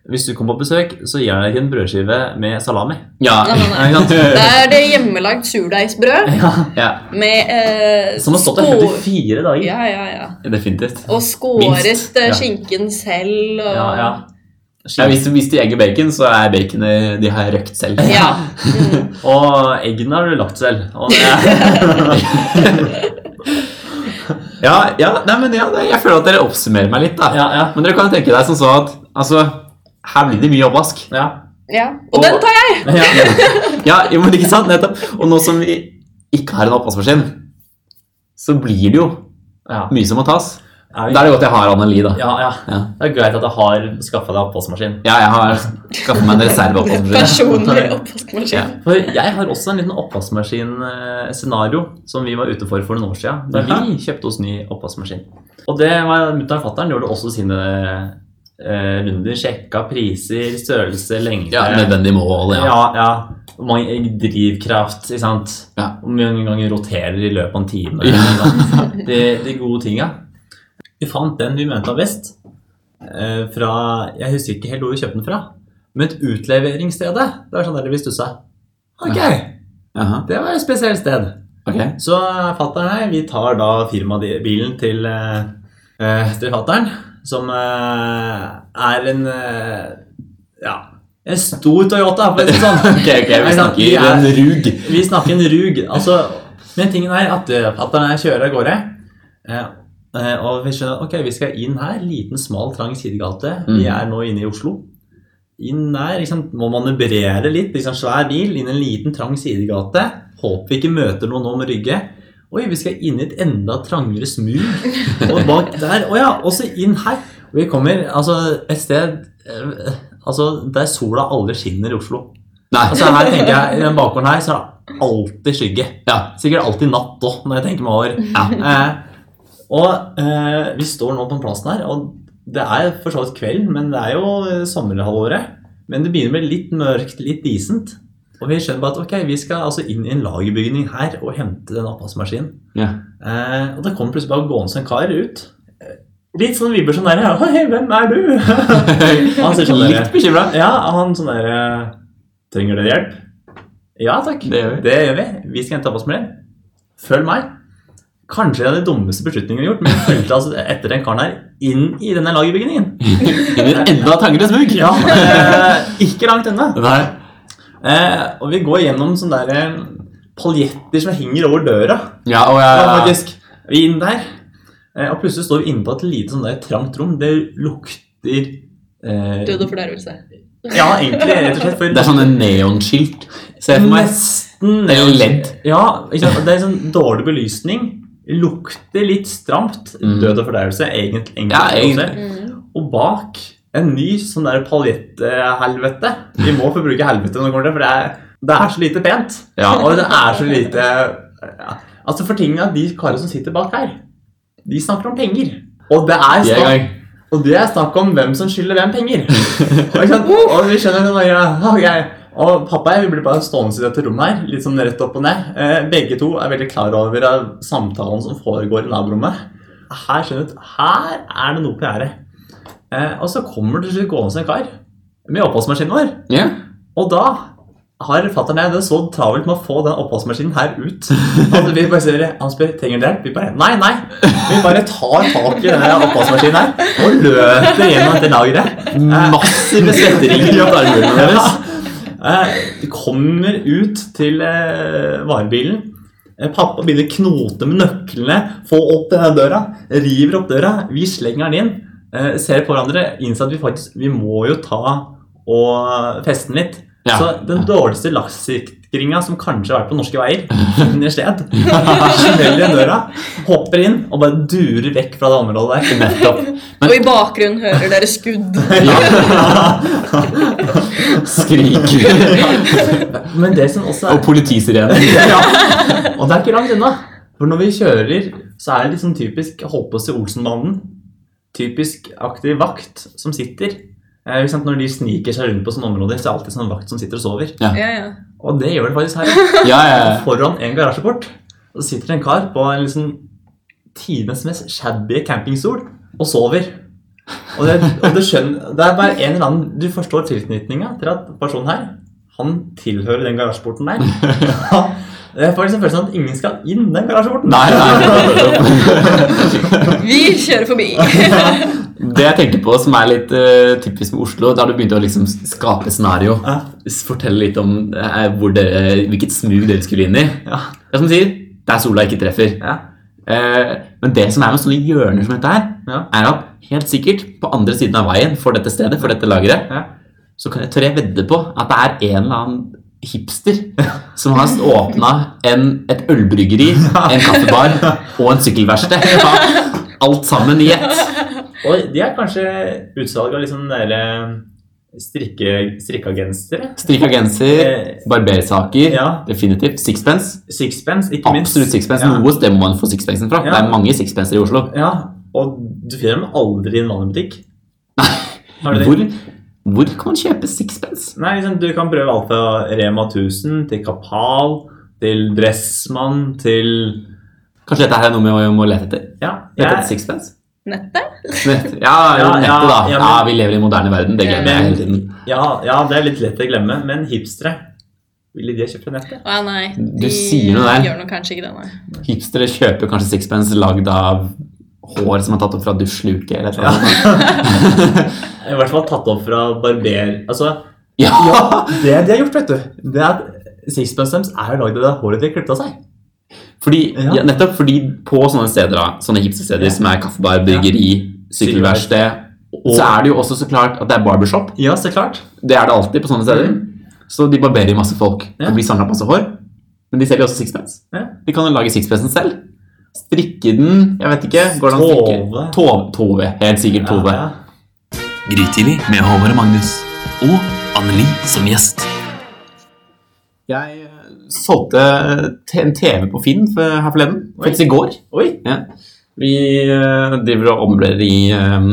[SPEAKER 2] Hvis du kommer på besøk, så gir han deg ikke en brødskive med salami.
[SPEAKER 1] Ja.
[SPEAKER 3] Nei, nei, nei.
[SPEAKER 2] Ikke sant?
[SPEAKER 3] Det er det hjemmelagd surdeigsbrød
[SPEAKER 2] Ja.
[SPEAKER 1] ja.
[SPEAKER 3] med eh,
[SPEAKER 2] Som har stått der
[SPEAKER 3] skår-
[SPEAKER 2] 44 dager.
[SPEAKER 3] Ja, ja, ja.
[SPEAKER 1] Definitivt.
[SPEAKER 3] Og skåret
[SPEAKER 2] Minst, ja.
[SPEAKER 3] eh, skinken selv og
[SPEAKER 2] Ja, ja.
[SPEAKER 1] Ja, hvis, hvis de egger bacon, så er baconet de har røkt selv.
[SPEAKER 3] Ja. Mm.
[SPEAKER 2] Og eggene har du lagt selv. Og det,
[SPEAKER 1] Ja, ja, nei, men ja, det- jeg føler at dere oppsummerer meg litt, da.
[SPEAKER 2] ja, ja,
[SPEAKER 1] Men dere kan jo tenke deg som så at altså, her blir det mye oppvask.
[SPEAKER 2] ja.
[SPEAKER 3] ja. Og den tar jeg!
[SPEAKER 2] ja.
[SPEAKER 1] Ja, jo, men ikke sant? Nettopp. Og nå som vi ikke har en oppvaskmaskin, så blir det jo
[SPEAKER 2] ja.
[SPEAKER 1] mye som må tas.
[SPEAKER 2] Er
[SPEAKER 1] Da er
[SPEAKER 2] vi-
[SPEAKER 1] det godt jeg har Anne-Li, da.
[SPEAKER 2] Ja, ja.
[SPEAKER 1] Ja.
[SPEAKER 2] Det er greit at jeg har skaffa deg oppvaskmaskin.
[SPEAKER 1] Ja, jeg har skaffet meg en reserveoppvaskmaskin.
[SPEAKER 3] Personlig oppvaskmaskin.
[SPEAKER 2] For jeg har også en liten oppvaskmaskin-scenario som vi var ute for for noen år siden. Da
[SPEAKER 1] Jaha.
[SPEAKER 2] vi kjøpte oss ny oppvaskmaskin. Og det var mutter'n og fatter'n gjorde også sine eh, runder. Sjekka priser, størrelse, lengde.
[SPEAKER 1] Ja, nødvendig mål,
[SPEAKER 2] ja.
[SPEAKER 1] ja.
[SPEAKER 2] ja, Hvor mange drivkraft, ikke sant.
[SPEAKER 1] Ja.
[SPEAKER 2] Hvor mange ganger roterer i løpet av en time.
[SPEAKER 1] Ja.
[SPEAKER 2] ikke sant? De, de gode tinga. Vi fant den vi mente var best. Eh, fra, jeg husker ikke helt hvor vi kjøpte den fra. Men et utleveringsstedet, det var sånn der vi stussa. Ok,
[SPEAKER 1] Jaha,
[SPEAKER 2] det var et spesielt sted.
[SPEAKER 1] ok.
[SPEAKER 2] Så fatter'n her, vi tar da firmabilen til, eh, eh, til fatter'n, som eh, er en eh, ja, en stor Toyota, for å si det sånn.
[SPEAKER 1] Ok, ok, vi snakker en rug.
[SPEAKER 2] Vi snakker en rug. Altså, men tingen er at eh, fatter'n her kjører av gårde. eh, eh, Og vi skjønner ok, vi skal inn her. Liten, smal, trang sidegate. Vi
[SPEAKER 1] Mm.
[SPEAKER 2] er nå inne i Oslo. Inn der ikke sant, må manøvrere litt. Liksom svær bil inn i en liten, trang sidegate. Håper vi ikke møter noen om Rygge. Oi, vi skal inn i et enda trangere smug. Og bak der. Å ja, og så inn her. Og vi kommer altså et sted eh, Altså, der sola aldri skinner i Oslo.
[SPEAKER 1] Nei,
[SPEAKER 2] Altså her tenker jeg, I den bakgården her så er det alltid skygge.
[SPEAKER 1] ja.
[SPEAKER 2] Sikkert alltid natt òg, når jeg tenker meg over. Eh, og eh, vi står nå på den plassen her, og det er for så vidt kveld, men det er jo eh, sommerhalvåret. Men det begynner å bli litt mørkt, litt decent. Og vi skjønner bare at ok, vi skal altså inn i en lagerbygning her og hente den oppvaskmaskinen.
[SPEAKER 1] Ja.
[SPEAKER 2] Eh, og da kommer plutselig bare gående en kar ut. Eh, Litt sånn vibber som der. ja, Hei, hvem er du? Han ser sånn der-
[SPEAKER 1] Litt bekymra.
[SPEAKER 2] ja, han sånn der eh, Trenger dere hjelp? Ja takk.
[SPEAKER 1] Det gjør vi.
[SPEAKER 2] vi. Vi skal hente oppvaskmaskin. Følg meg. Kanskje det er den dummeste beslutningen vi har gjort, men vi fulgte altså etter den karen her inn i denne lagerbygningen.
[SPEAKER 1] Inn i et enda trangere smug.
[SPEAKER 2] Ja, eh, ikke langt unna.
[SPEAKER 1] Nei.
[SPEAKER 2] Eh, og vi går gjennom sånne der eh, paljetter som henger over døra.
[SPEAKER 1] Ja, og jeg,
[SPEAKER 2] Ja, faktisk. Vi er inn der, eh, og plutselig står vi inne på et lite sånn der trangt rom. Det lukter eh,
[SPEAKER 3] Død og fordervelse.
[SPEAKER 2] Ja, egentlig, rett og slett. For
[SPEAKER 1] Det er sånn en neonskilt. Ser jeg for meg.
[SPEAKER 2] Nesten.
[SPEAKER 1] Eller ledd.
[SPEAKER 2] Ja, ikke sant? det er sånn dårlig belysning. Lukter litt stramt.
[SPEAKER 1] Mm.
[SPEAKER 2] Død og fordervelse, egentlig. egentlig,
[SPEAKER 1] Ja, egentlig.
[SPEAKER 3] Mm.
[SPEAKER 2] Og bak en ny sånn der paljetthelvete. Vi må få bruke helvete når det kommer til, for det er, det er så lite pent.
[SPEAKER 1] Ja.
[SPEAKER 2] Og det er så lite ja. Altså, for tingene de karene som sitter bak her, de snakker om penger. Og det er
[SPEAKER 1] Vi er i
[SPEAKER 2] snakk,
[SPEAKER 1] gang.
[SPEAKER 2] og det er snakk om hvem som skylder hvem penger. Og, ikke sant? og vi skjønner det bare, ja, ok. Og pappa og jeg vi blir bare stående i dette rommet her, litt sånn rett opp og ned. Eh, begge to er veldig klar over eh, samtalen som foregår i naborommet. Her skjønner du, at her er det noe på gjerdet. Eh, og så kommer det til slutt gående en kar med oppvaskmaskinen vår.
[SPEAKER 1] Ja.
[SPEAKER 2] Og da har fatter'n og jeg det så travelt med å få den oppvaskmaskinen her ut. At vi bare sier, Han spør trenger dere hjelp. Vi bare nei, nei. Vi bare tar tak i denne oppvaskmaskinen her og løper gjennom dette lageret.
[SPEAKER 1] Massive svetteringer rundt armhulene deres.
[SPEAKER 2] Eh, Vi kommer ut til eh, varebilen. Eh, Pappa begynner å knote med nøklene, få opp denne døra, river opp døra. Vi slenger den inn, eh, ser på hverandre, innser at vi faktisk vi må jo ta og feste den litt.
[SPEAKER 1] Ja.
[SPEAKER 2] Så den dårligste lakssikringa som kanskje har vært på norske veier, finner sted. Smeller igjen døra, hopper inn og bare durer vekk fra det området der.
[SPEAKER 1] Nettopp.
[SPEAKER 3] Og i bakgrunnen hører dere skudd.
[SPEAKER 1] Skrik.
[SPEAKER 2] Men det som også er
[SPEAKER 1] Og politisirener.
[SPEAKER 2] ja. Og det er ikke langt unna. For når vi kjører så er det liksom typisk Holpås til Olsenbanden. Typisk aktiv vakt som sitter. Eh, ikke sant? Når de sniker seg rundt på sånne områder, så er det alltid sånn vakt som sitter og sover.
[SPEAKER 3] Ja, ja.
[SPEAKER 2] Og det gjør det faktisk her.
[SPEAKER 1] Ja, ja, ja.
[SPEAKER 2] Foran en garasjeport Og så sitter det en kar på en liksom tidenes mest shabby campingstol og sover. Og det, og det, skjønner, det er bare en eller annen Du forstår tilknytninga til at personen her Han tilhører den garasjeporten der. Jeg får liksom følelsen av at ingen skal inn den garasjeporten.
[SPEAKER 1] Nei, nei.
[SPEAKER 3] Vi kjører forbi.
[SPEAKER 1] Det jeg tenker på som er litt eh, typisk med Oslo, da du begynte å liksom skape scenario
[SPEAKER 2] Ja.
[SPEAKER 1] Fortell litt om eh, hvor dere, hvilket smug dere skulle inn i.
[SPEAKER 2] Ja.
[SPEAKER 1] Det er som du sier, der sola ikke treffer.
[SPEAKER 2] Ja.
[SPEAKER 1] Eh, men det som er med sånne hjørner som dette her,
[SPEAKER 2] Ja.
[SPEAKER 1] er at helt sikkert på andre siden av veien for dette stedet, for dette lageret,
[SPEAKER 2] Ja.
[SPEAKER 1] så kan jeg tør jeg vedde på at det er en eller annen hipster som har åpna et ølbryggeri, en kaffebar og en sykkelverksted. Alt sammen i ett.
[SPEAKER 2] Og de er kanskje utsalg av liksom den derre strikke, strikka gensere.
[SPEAKER 1] Strikka genser,
[SPEAKER 2] Eh,
[SPEAKER 1] barbersaker,
[SPEAKER 2] Ja.
[SPEAKER 1] definitivt. Sixpence.
[SPEAKER 2] Sixpence, ikke minst.
[SPEAKER 1] Absolutt sixpence.
[SPEAKER 2] Ja.
[SPEAKER 1] Noe sted må man få sixpencen fra.
[SPEAKER 2] Ja.
[SPEAKER 1] Det er mange sixpencer i Oslo.
[SPEAKER 2] Ja, og du finner dem aldri i en vanlig butikk. Har du det?
[SPEAKER 1] Hvor, hvor kan man kjøpe sixpence?
[SPEAKER 2] Nei, liksom, du kan prøve alt fra Rema 1000 til Kapal til Dressmann til
[SPEAKER 1] Kanskje dette her er noe vi må- må lete etter?
[SPEAKER 2] Ja,
[SPEAKER 1] Lete etter
[SPEAKER 2] jeg,
[SPEAKER 1] sixpence?
[SPEAKER 3] Nettet?
[SPEAKER 1] Nett- Ja, jo,
[SPEAKER 2] Ja, ja,
[SPEAKER 1] nettet, da.
[SPEAKER 2] ja,
[SPEAKER 1] Ja,
[SPEAKER 2] men-
[SPEAKER 1] vi lever i en moderne verden. Det
[SPEAKER 3] Ja.
[SPEAKER 1] glemmer jeg hele tiden.
[SPEAKER 2] ja, ja, det er litt lett å glemme, men hipstere Ville de ha kjøpt fra nettet?
[SPEAKER 3] Å ja, nei.
[SPEAKER 1] Du sier noe der.
[SPEAKER 3] gjør nok kanskje ikke det, nei.
[SPEAKER 1] Hipstere kjøper kanskje sixpence lagd av hår som er tatt opp fra dusjluke eller et eller annet.
[SPEAKER 2] I hvert fall tatt opp fra barber... Altså,
[SPEAKER 1] Ja!
[SPEAKER 2] det de har gjort, vet du, det er at Sixpence Stamps er jo lagd av det håret de har klippet av seg.
[SPEAKER 1] Fordi,
[SPEAKER 2] Ja.
[SPEAKER 1] ja, nettopp fordi på sånne steder, da, sånne hipstersteder
[SPEAKER 2] Ja.
[SPEAKER 1] som er kaffebar, bryggeri, sykkelverksted, så er det jo også så klart at det er barbershop.
[SPEAKER 2] Ja, så klart.
[SPEAKER 1] Det er det alltid på sånne steder. Så de barberer masse folk.
[SPEAKER 2] Mm. Ja.
[SPEAKER 1] Det blir samla masse hår. Men de selger jo også sixpence.
[SPEAKER 2] Ja.
[SPEAKER 1] De kan jo lage sixpencen selv. Strikke den Jeg vet ikke. Går det an å strikke?
[SPEAKER 2] Tove.
[SPEAKER 1] Tove. Tove. Helt sikkert Tove.
[SPEAKER 2] Ja, ja.
[SPEAKER 1] Grytidlig med Håvard og Magnus. Og Anneli som gjest. Jeg eh, solgte te- en TV på Finn for- her forleden. Faktisk i går.
[SPEAKER 2] Oi!
[SPEAKER 1] Vi eh, driver og omblerer i eh,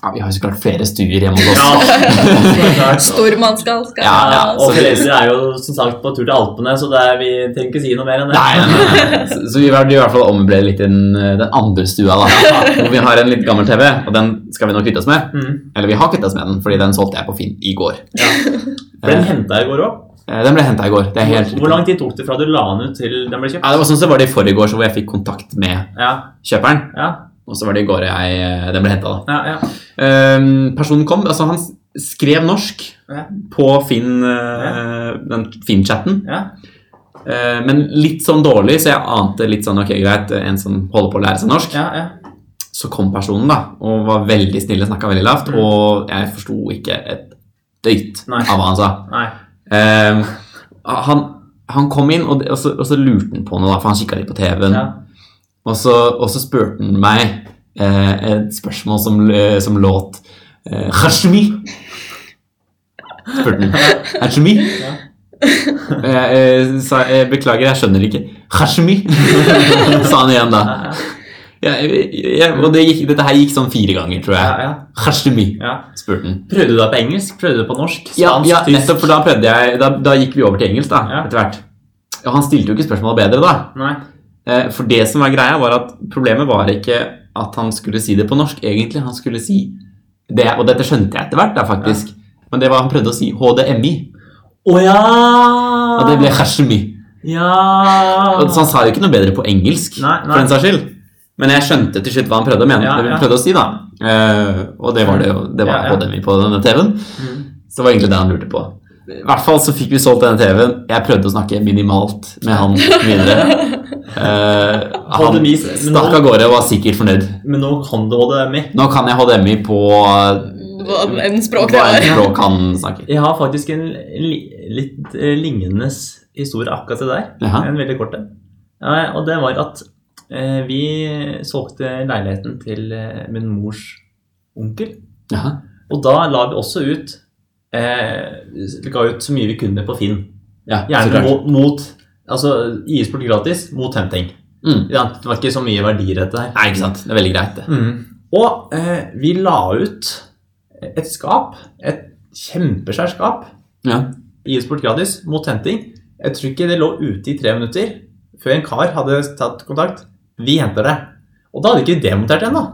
[SPEAKER 1] ja, Vi har jo så klart flere stuer hjemme hos oss.
[SPEAKER 2] så klart.
[SPEAKER 3] Stormannsgal skal
[SPEAKER 1] Ja, ja,
[SPEAKER 2] Og
[SPEAKER 1] så vi-
[SPEAKER 2] Therese er jo som sagt på tur til Alpene, så det er, vi trenger ikke si noe mer enn det.
[SPEAKER 1] Nei, nei, nei, nei. Så, så vi vil i hvert fall ombleie litt i den, eh, den andre stua, da. Hvor vi har en litt gammel TV, og den skal vi nå kvitte oss med.
[SPEAKER 2] Mm.
[SPEAKER 1] Eller vi har kvittet oss med den, fordi den solgte jeg på Finn i går.
[SPEAKER 2] For den henta jeg i går òg.
[SPEAKER 1] Eh, Den ble henta i går. Det er helt
[SPEAKER 2] Hvor lang tid tok det fra du la den ut til den ble kjøpt?
[SPEAKER 1] Ja, det var sånn som det var det i forgårs, hvor jeg fikk kontakt med
[SPEAKER 2] Ja,
[SPEAKER 1] kjøperen.
[SPEAKER 2] ja,
[SPEAKER 1] Og så var det i går jeg, eh, den ble henta, da.
[SPEAKER 2] ja, ja.
[SPEAKER 1] Ehm, personen kom, altså han s- skrev norsk
[SPEAKER 2] Ja.
[SPEAKER 1] på Finn, eh, den Finn-chatten.
[SPEAKER 2] ja.
[SPEAKER 1] Eh, men litt sånn dårlig, så jeg ante litt sånn ok, greit, en som holder på å lære seg norsk.
[SPEAKER 2] ja, ja.
[SPEAKER 1] Så kom personen da, og var veldig snill og snakka veldig lavt,
[SPEAKER 2] Mm.
[SPEAKER 1] og jeg forsto ikke et døyt
[SPEAKER 2] Nei.
[SPEAKER 1] av hva han sa.
[SPEAKER 2] Nei.
[SPEAKER 1] Ehm, han, han kom inn, og, det- og, så, og så lurte han på noe, da, for han kikka litt på TV-en.
[SPEAKER 2] Ja.
[SPEAKER 1] Og så, og så spurte han meg eh, et spørsmål som, eh, som låt eh, Hashmi. Spurte han. Hashmi?
[SPEAKER 2] Ja.
[SPEAKER 1] Eh, eh, sa, eh, beklager, jeg skjønner ikke. Hashmi, sa han igjen da.
[SPEAKER 2] Ja, ja,
[SPEAKER 1] Ja, jeg, jeg, og det gikk, dette her gikk sånn fire ganger, tror
[SPEAKER 2] ja,
[SPEAKER 1] jeg.
[SPEAKER 2] ja,
[SPEAKER 1] Hashmi,
[SPEAKER 2] ja.
[SPEAKER 1] spurte han.
[SPEAKER 2] Prøvde du deg på engelsk? Prøvde du deg på norsk?
[SPEAKER 1] Ja,
[SPEAKER 2] Spansk?
[SPEAKER 1] ja,
[SPEAKER 2] tysk?
[SPEAKER 1] nettopp, for da prøvde jeg Da, da gikk vi over til engelsk, da,
[SPEAKER 2] Ja.
[SPEAKER 1] etter hvert. Og han stilte jo ikke spørsmålet bedre, da.
[SPEAKER 2] Nei.
[SPEAKER 1] Eh, For det som var greia, var at problemet var ikke at han skulle si det på norsk, egentlig. Han skulle si det, Og dette skjønte jeg etter hvert, da, faktisk. Men det var han prøvde å si HDMI,
[SPEAKER 2] Å ja!
[SPEAKER 1] og
[SPEAKER 2] Ah.
[SPEAKER 1] det ble hashmi.
[SPEAKER 2] Ja!
[SPEAKER 1] Og Så han sa jo ikke noe bedre på engelsk,
[SPEAKER 2] Nei, nei.
[SPEAKER 1] for den saks skyld. Men jeg skjønte til slutt hva han prøvde å mene.
[SPEAKER 2] Ja,
[SPEAKER 1] det
[SPEAKER 2] ja.
[SPEAKER 1] han prøvde å si da. Eh, og det var det jo. Det var
[SPEAKER 2] Ja, ja.
[SPEAKER 1] HDMI på denne TV-en.
[SPEAKER 2] Mm.
[SPEAKER 1] Så det var egentlig det han lurte på. I hvert fall så fikk vi solgt denne TV-en. Jeg prøvde å snakke minimalt med han videre. Eh, han
[SPEAKER 2] HDMI, men nå-
[SPEAKER 1] stakk av gårde og var sikkert fornøyd.
[SPEAKER 2] Men nå kan du HDMI.
[SPEAKER 1] Nå kan jeg HDMI på eh,
[SPEAKER 3] Hva enn språk
[SPEAKER 1] Mm.
[SPEAKER 3] det
[SPEAKER 1] hva
[SPEAKER 3] var.
[SPEAKER 1] enn språk han snakker.
[SPEAKER 2] Jeg har faktisk en li litt eh, lignende s- historie akkurat til deg.
[SPEAKER 1] Jaha.
[SPEAKER 2] En veldig kort en. Ja, og det var at eh, vi solgte leiligheten til eh, min mors onkel.
[SPEAKER 1] Jaha.
[SPEAKER 2] Og da la vi også ut eh, Ga ut så mye vi kunne på Finn.
[SPEAKER 1] Ja, så
[SPEAKER 2] Gjerne
[SPEAKER 1] klart.
[SPEAKER 2] mot, mot altså, IS-sport gratis mot Tempting.
[SPEAKER 1] Mm.
[SPEAKER 2] Ja, det var ikke så mye verdier i dette her.
[SPEAKER 1] Nei, Mm. ikke sant. Det er veldig greit, det.
[SPEAKER 2] Og eh, vi la ut et skap, et kjempesvært skap,
[SPEAKER 1] Ja.
[SPEAKER 2] i e-sport gratis, mot henting. Jeg tror ikke det lå ute i tre minutter før en kar hadde tatt kontakt. Vi henter det. Og da hadde ikke vi demontert ennå.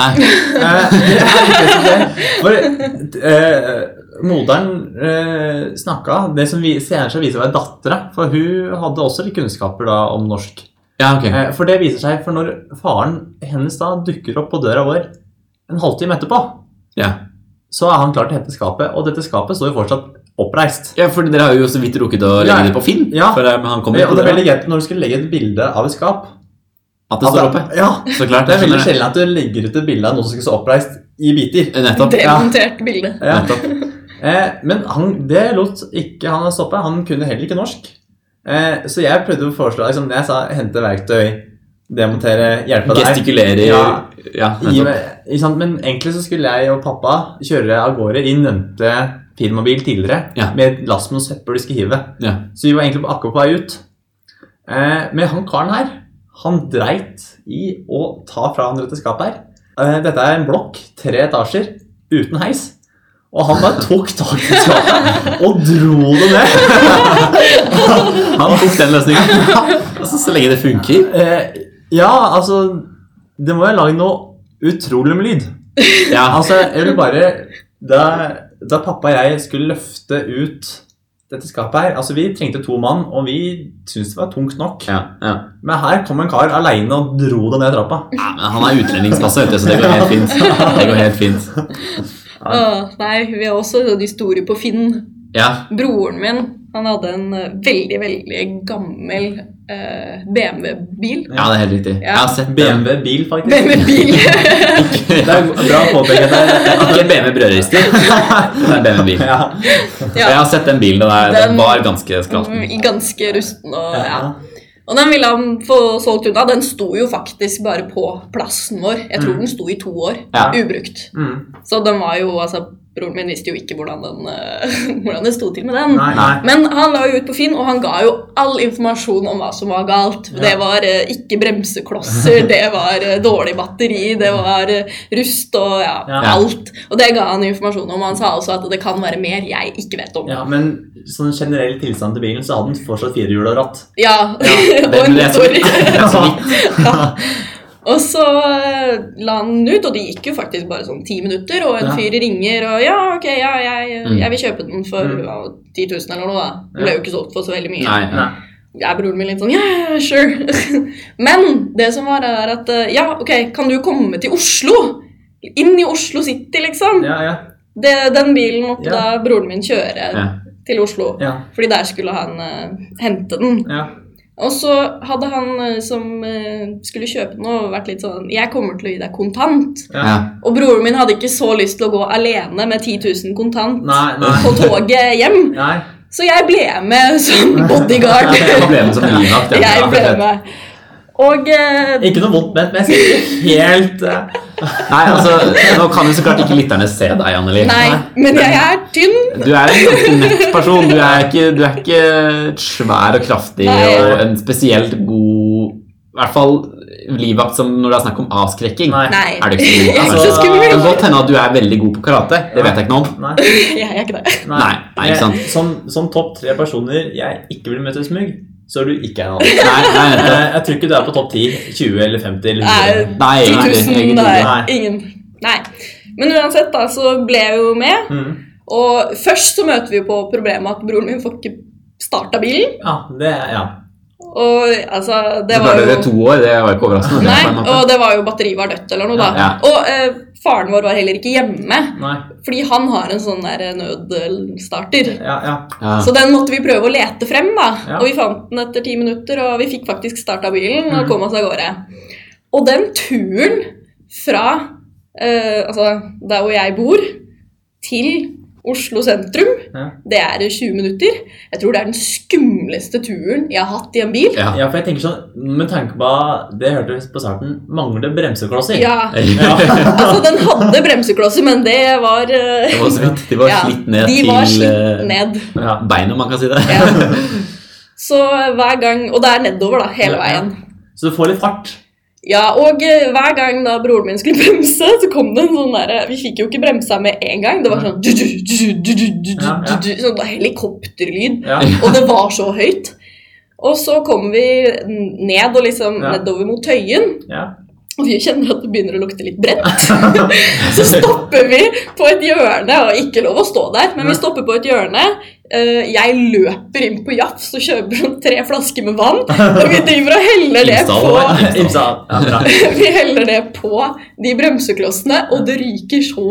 [SPEAKER 1] Nei.
[SPEAKER 2] Eh, det er ikke så det. For eh, moderen eh, snakka det som vi, senere seg viser å være dattera, for hun hadde også litt kunnskaper da om norsk.
[SPEAKER 1] Ja, ok.
[SPEAKER 2] Eh, For det viser seg, for når faren hennes da dukker opp på døra vår en halvtime etterpå,
[SPEAKER 1] Ja.
[SPEAKER 2] så er han klar til å hente skapet, og dette skapet står jo fortsatt oppreist.
[SPEAKER 1] ja, for dere har jo så vidt rukket å legge
[SPEAKER 2] Ja.
[SPEAKER 1] det på Finn.
[SPEAKER 2] Ja.
[SPEAKER 1] Før eh, han
[SPEAKER 2] Og
[SPEAKER 1] kommer
[SPEAKER 2] det er
[SPEAKER 1] på døra.
[SPEAKER 2] veldig greit når du skal legge et bilde av et skap.
[SPEAKER 1] At det står oppe.
[SPEAKER 2] Ja,
[SPEAKER 1] Så klart.
[SPEAKER 2] Det er sånn veldig
[SPEAKER 1] skjønner
[SPEAKER 2] sjelden at du legger ut et bilde av noe som skal stå oppreist, i biter.
[SPEAKER 1] Nettopp.
[SPEAKER 3] Demontert bilde.
[SPEAKER 2] Ja.
[SPEAKER 1] Nettopp.
[SPEAKER 2] Eh, men han, det lot ikke han stoppe. Han kunne heller ikke norsk. Eh, så jeg prøvde å foreslå liksom, Jeg sa hente verktøy, demontere, hjelpe deg.
[SPEAKER 1] Gestikulerer. Ja,
[SPEAKER 2] Ja. Gi
[SPEAKER 1] nettopp.
[SPEAKER 2] meg, ikke sant? Men egentlig så skulle jeg og pappa kjøre av gårde i nevnte firmabil tidligere
[SPEAKER 1] Ja.
[SPEAKER 2] med et lass med noe søppel vi skulle hive.
[SPEAKER 1] Ja.
[SPEAKER 2] Så vi var egentlig på akkurat på vei ut. Eh, men han karen her, han dreit i å ta fra han dette skapet her. Eh, dette er en blokk, tre etasjer, uten heis. Og han bare tok tak i skapet og dro det ned.
[SPEAKER 1] Han tok den løsningen. Altså, så lenge det funker.
[SPEAKER 2] Eh, ja, altså Det må jo lage noe utrolig med lyd.
[SPEAKER 1] Ja,
[SPEAKER 2] Altså, jeg vil bare da, da pappa og jeg skulle løfte ut dette skapet her Altså, vi trengte to mann, og vi syntes det var tungt nok.
[SPEAKER 1] ja, ja.
[SPEAKER 2] Men her kom en kar aleine og dro det ned trappa.
[SPEAKER 1] ja men han er utlendingspasse, vet du, så det går helt fint. Det går helt fint.
[SPEAKER 3] Åh, nei, vi har også en historie på Finn.
[SPEAKER 1] Ja.
[SPEAKER 3] Broren min han hadde en eh, veldig, veldig gammel eh, BMW-bil.
[SPEAKER 1] ja, det er helt riktig. Jeg har sett BMW.
[SPEAKER 2] BMW bil, faktisk.
[SPEAKER 3] BMW-bil!
[SPEAKER 2] Det er bra påpeket der.
[SPEAKER 1] Ikke BMW brødrister. Det er BMW bil.
[SPEAKER 2] Ja.
[SPEAKER 1] Jeg har sett den bilen, og den, er- den
[SPEAKER 3] Den-
[SPEAKER 1] var ganske skralten.
[SPEAKER 3] Mm, Ganske rusten og ja. Og den ville han få solgt unna. Den sto jo faktisk bare på plassen vår. Jeg tror
[SPEAKER 2] Mm.
[SPEAKER 3] den sto i to år,
[SPEAKER 1] Ja.
[SPEAKER 3] ubrukt.
[SPEAKER 2] Mm.
[SPEAKER 3] Så den var jo altså Broren min visste jo ikke hvordan, den, eh, hvordan det sto til med den.
[SPEAKER 2] Nei, nei.
[SPEAKER 3] Men han la jo ut på Finn, og han ga jo all informasjon om hva som var galt.
[SPEAKER 2] Ja.
[SPEAKER 3] Det var eh, ikke bremseklosser, det var eh, dårlig batteri, det var eh, rust og ja,
[SPEAKER 2] Ja.
[SPEAKER 3] alt. Og det ga han informasjon om. Han sa altså at det kan være mer jeg ikke vet om.
[SPEAKER 2] Ja, men sånn generell tilstand til bilen, så hadde den fortsatt firehjul og ratt.
[SPEAKER 3] Ja, og
[SPEAKER 1] det
[SPEAKER 3] en
[SPEAKER 1] ble så
[SPEAKER 3] motor.
[SPEAKER 1] Det er så vidt.
[SPEAKER 3] Og så eh, la han den ut, og det gikk jo faktisk bare sånn ti minutter, og en
[SPEAKER 2] Ja.
[SPEAKER 3] fyr ringer og ja, ok, ja, jeg,
[SPEAKER 1] Mm.
[SPEAKER 3] jeg vil kjøpe den for
[SPEAKER 2] Mm.
[SPEAKER 3] ja, 10 000 eller noe, da. Den
[SPEAKER 2] Ja.
[SPEAKER 3] ble jo ikke solgt for så veldig mye.
[SPEAKER 1] Nei, nei.
[SPEAKER 3] Jeg er broren min litt sånn Ja, ja, ja, sure. Men det som var, er at eh, Ja, ok, kan du komme til Oslo? Inn i Oslo City, liksom.
[SPEAKER 2] Ja, ja,
[SPEAKER 3] Det, den bilen måtte
[SPEAKER 2] Ja.
[SPEAKER 3] da broren min kjøre
[SPEAKER 1] Ja.
[SPEAKER 3] til Oslo.
[SPEAKER 2] ja,
[SPEAKER 3] Fordi der skulle han eh, hente den.
[SPEAKER 2] ja.
[SPEAKER 3] Og så hadde han eh, som eh, skulle kjøpe noe, vært litt sånn Jeg kommer til å gi deg kontant.
[SPEAKER 1] Ja.
[SPEAKER 3] Og broren min hadde ikke så lyst til å gå alene med 10 000 kontant
[SPEAKER 2] Nei, nei.
[SPEAKER 3] på toget hjem,
[SPEAKER 2] Nei.
[SPEAKER 3] så jeg ble med som bodyguard.
[SPEAKER 1] Det var problemet som livvakt. ja.
[SPEAKER 3] Jeg ble med. Og eh,
[SPEAKER 2] Ikke noe vondt ment, men jeg sitter helt eh,
[SPEAKER 1] Nei, altså, Nå kan jo så klart ikke lytterne se deg, Anneli.
[SPEAKER 3] Nei, men jeg er tynn.
[SPEAKER 1] Du er en ganske nett person. Du er ikke, du er ikke svær og kraftig
[SPEAKER 3] Nei.
[SPEAKER 1] og en spesielt god I hvert fall livvakt som når det er snakk om avskrekking.
[SPEAKER 2] Nei.
[SPEAKER 3] Nei.
[SPEAKER 1] Er du ikke god?
[SPEAKER 3] Jeg er
[SPEAKER 1] Altså,
[SPEAKER 3] ikke så
[SPEAKER 1] det kan
[SPEAKER 3] skummel.
[SPEAKER 1] godt hende at du er veldig god på karate. Det vet jeg ikke noe om.
[SPEAKER 2] Nei.
[SPEAKER 3] Jeg er ikke det.
[SPEAKER 1] Nei, nei, ikke sant.
[SPEAKER 2] Jeg- Som, som topp tre personer jeg ikke vil møte i smug, så er du ikke en av dem.
[SPEAKER 1] Nei, nei, nettopp.
[SPEAKER 2] Eh, Jeg tror ikke du er på topp 10, 20 eller 50 eller
[SPEAKER 3] Nei,
[SPEAKER 2] 100.
[SPEAKER 1] nei,
[SPEAKER 3] 10
[SPEAKER 1] egentlig-
[SPEAKER 3] 000,
[SPEAKER 1] egentlig
[SPEAKER 3] nei.
[SPEAKER 1] ikke.
[SPEAKER 2] Nei.
[SPEAKER 3] Ingen. Nei. Men uansett, da, så ble jeg jo med.
[SPEAKER 2] Mm.
[SPEAKER 3] Og først så møter vi jo på problemet at broren min får ikke starta bilen.
[SPEAKER 2] Ja, det ja.
[SPEAKER 3] Og altså, det
[SPEAKER 1] Så
[SPEAKER 3] var
[SPEAKER 1] klarte dere
[SPEAKER 3] jo
[SPEAKER 1] to år, det var jo ikke overraskende.
[SPEAKER 3] Nei,
[SPEAKER 1] på en måte.
[SPEAKER 3] og det var jo batteriet var dødt eller noe, da.
[SPEAKER 1] Ja.
[SPEAKER 3] Og eh, faren vår var heller ikke hjemme,
[SPEAKER 2] Nei.
[SPEAKER 3] fordi han har en sånn der nødstarter.
[SPEAKER 2] Ja, ja.
[SPEAKER 1] Ja.
[SPEAKER 3] Så den måtte vi prøve å lete frem, da.
[SPEAKER 2] Ja.
[SPEAKER 3] Og vi fant den etter ti minutter, og vi fikk faktisk starta bilen
[SPEAKER 2] Mhm.
[SPEAKER 1] Mm.
[SPEAKER 3] og kom oss av gårde. Og den turen fra eh, altså der hvor jeg bor, til Oslo sentrum,
[SPEAKER 2] Ja.
[SPEAKER 3] det er 20 minutter. Jeg tror det er den skumleste turen jeg har hatt i en bil.
[SPEAKER 1] Ja.
[SPEAKER 2] Ja, for jeg tenker sånn Med tanke på det jeg hørte på starten, mangler bremseklosser.
[SPEAKER 3] Ja,
[SPEAKER 2] Ja.
[SPEAKER 3] altså Den hadde bremseklosser, men det var eh,
[SPEAKER 1] Det var så vidt. De var
[SPEAKER 3] Ja,
[SPEAKER 1] slitt ned
[SPEAKER 3] De var
[SPEAKER 1] til
[SPEAKER 3] slitt
[SPEAKER 1] eh,
[SPEAKER 3] ned.
[SPEAKER 2] ja.
[SPEAKER 1] bein, om man kan si det.
[SPEAKER 3] Ja. Så hver gang Og det er nedover, da, hele
[SPEAKER 2] Ja, ja.
[SPEAKER 3] veien.
[SPEAKER 2] Så du får litt fart.
[SPEAKER 3] Ja, og eh, hver gang da broren min skulle bremse, så kom det en sånn derre Vi fikk jo ikke bremsa med en gang. Det var sånn du, du, du, du, du, du, du,
[SPEAKER 2] Ja, ja.
[SPEAKER 3] du, Sånn helikopterlyd.
[SPEAKER 2] Ja.
[SPEAKER 3] Og det var så høyt. Og så kom vi ned og liksom
[SPEAKER 2] Ja.
[SPEAKER 3] nedover mot Tøyen,
[SPEAKER 2] ja.
[SPEAKER 3] og vi kjenner at det begynner å lukte litt brent. Så stopper vi på et hjørne, og ikke lov å stå der, men vi stopper på et hjørne. Eh, Jeg løper inn på Jafs og kjøper sånn tre flasker med vann, og vi driver og heller det
[SPEAKER 1] Imsdal,
[SPEAKER 3] på
[SPEAKER 1] eller?
[SPEAKER 2] Imsa. Ja, bra.
[SPEAKER 3] vi heller det på de bremseklossene, og det ryker så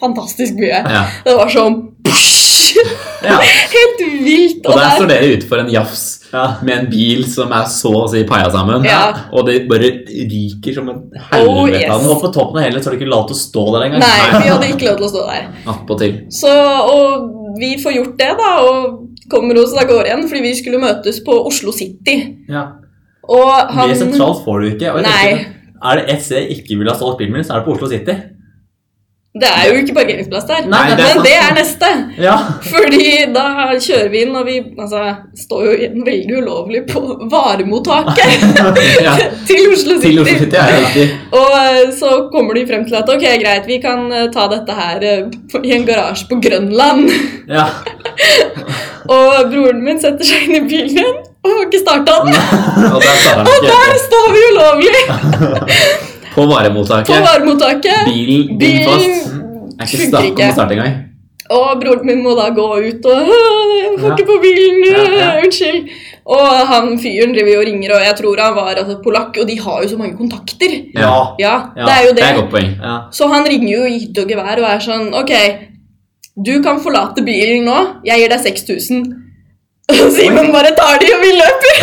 [SPEAKER 3] fantastisk mye.
[SPEAKER 1] Ja.
[SPEAKER 3] Det var sånn psh,
[SPEAKER 2] Ja.
[SPEAKER 3] Helt vilt.
[SPEAKER 1] Og der
[SPEAKER 3] Og der,
[SPEAKER 1] står dere utenfor en jafs
[SPEAKER 2] Ja.
[SPEAKER 1] med en bil som er så å si paia sammen,
[SPEAKER 3] Ja.
[SPEAKER 1] og det bare ryker som en
[SPEAKER 3] Oh,
[SPEAKER 1] helvete
[SPEAKER 3] yes.
[SPEAKER 1] av
[SPEAKER 2] Og
[SPEAKER 1] noe
[SPEAKER 2] på toppen av hele så har du ikke lov til å stå der engang.
[SPEAKER 3] nei, vi hadde ikke lov til å stå der.
[SPEAKER 1] attpåtil.
[SPEAKER 3] Så, og vi får gjort det, da, og kommer oss av gårde igjen, fordi vi skulle møtes på Oslo City.
[SPEAKER 2] Ja.
[SPEAKER 3] Og han
[SPEAKER 2] Mer sentralt får du ikke. Og jeg
[SPEAKER 3] Nei.
[SPEAKER 2] tenker, er det ett sted jeg ikke ville ha solgt bilen min, så er det på Oslo City.
[SPEAKER 3] Det er jo ikke parkeringsplass der.
[SPEAKER 2] Nei, det er
[SPEAKER 3] men
[SPEAKER 2] sant.
[SPEAKER 3] det er neste.
[SPEAKER 2] Ja.
[SPEAKER 3] Fordi da kjører vi inn, og vi altså, står jo igjen veldig ulovlig på varemottaket
[SPEAKER 1] Ja.
[SPEAKER 3] til Oslo City.
[SPEAKER 1] Til Oslo City er det riktig.
[SPEAKER 3] Og eh, så kommer de frem til at ok, greit, vi kan eh, ta dette her eh, på- i en garasje på Grønland.
[SPEAKER 2] ja.
[SPEAKER 3] Og broren min setter seg inn i bilen igjen og får ikke starta den.
[SPEAKER 1] Og der starter han ikke.
[SPEAKER 3] Der står vi ulovlig
[SPEAKER 1] På
[SPEAKER 3] på
[SPEAKER 1] varemottaket.
[SPEAKER 3] varemottaket.
[SPEAKER 1] Bilen bom fast.
[SPEAKER 3] Bilen
[SPEAKER 1] Er ikke
[SPEAKER 3] funker
[SPEAKER 1] start, kommer
[SPEAKER 3] ikke.
[SPEAKER 1] starte engang.
[SPEAKER 3] Og broren min må da gå ut og «Åh, Jeg får
[SPEAKER 2] Ja.
[SPEAKER 3] ikke på bilen,
[SPEAKER 2] Ja,
[SPEAKER 3] øh,
[SPEAKER 2] ja.
[SPEAKER 3] unnskyld. Og han fyren driver jo og ringer, og jeg tror han var altså, polakk, og de har jo så mange kontakter.
[SPEAKER 2] Ja.
[SPEAKER 3] Ja,
[SPEAKER 2] Ja,
[SPEAKER 3] det er jo
[SPEAKER 1] Det
[SPEAKER 3] det.
[SPEAKER 1] er et godt poeng.
[SPEAKER 2] ja.
[SPEAKER 3] Så han ringer jo i hytte og gevær og er sånn Ok, du kan forlate bilen nå. Jeg gir deg 6000. Og Simen bare tar de, og vi løper!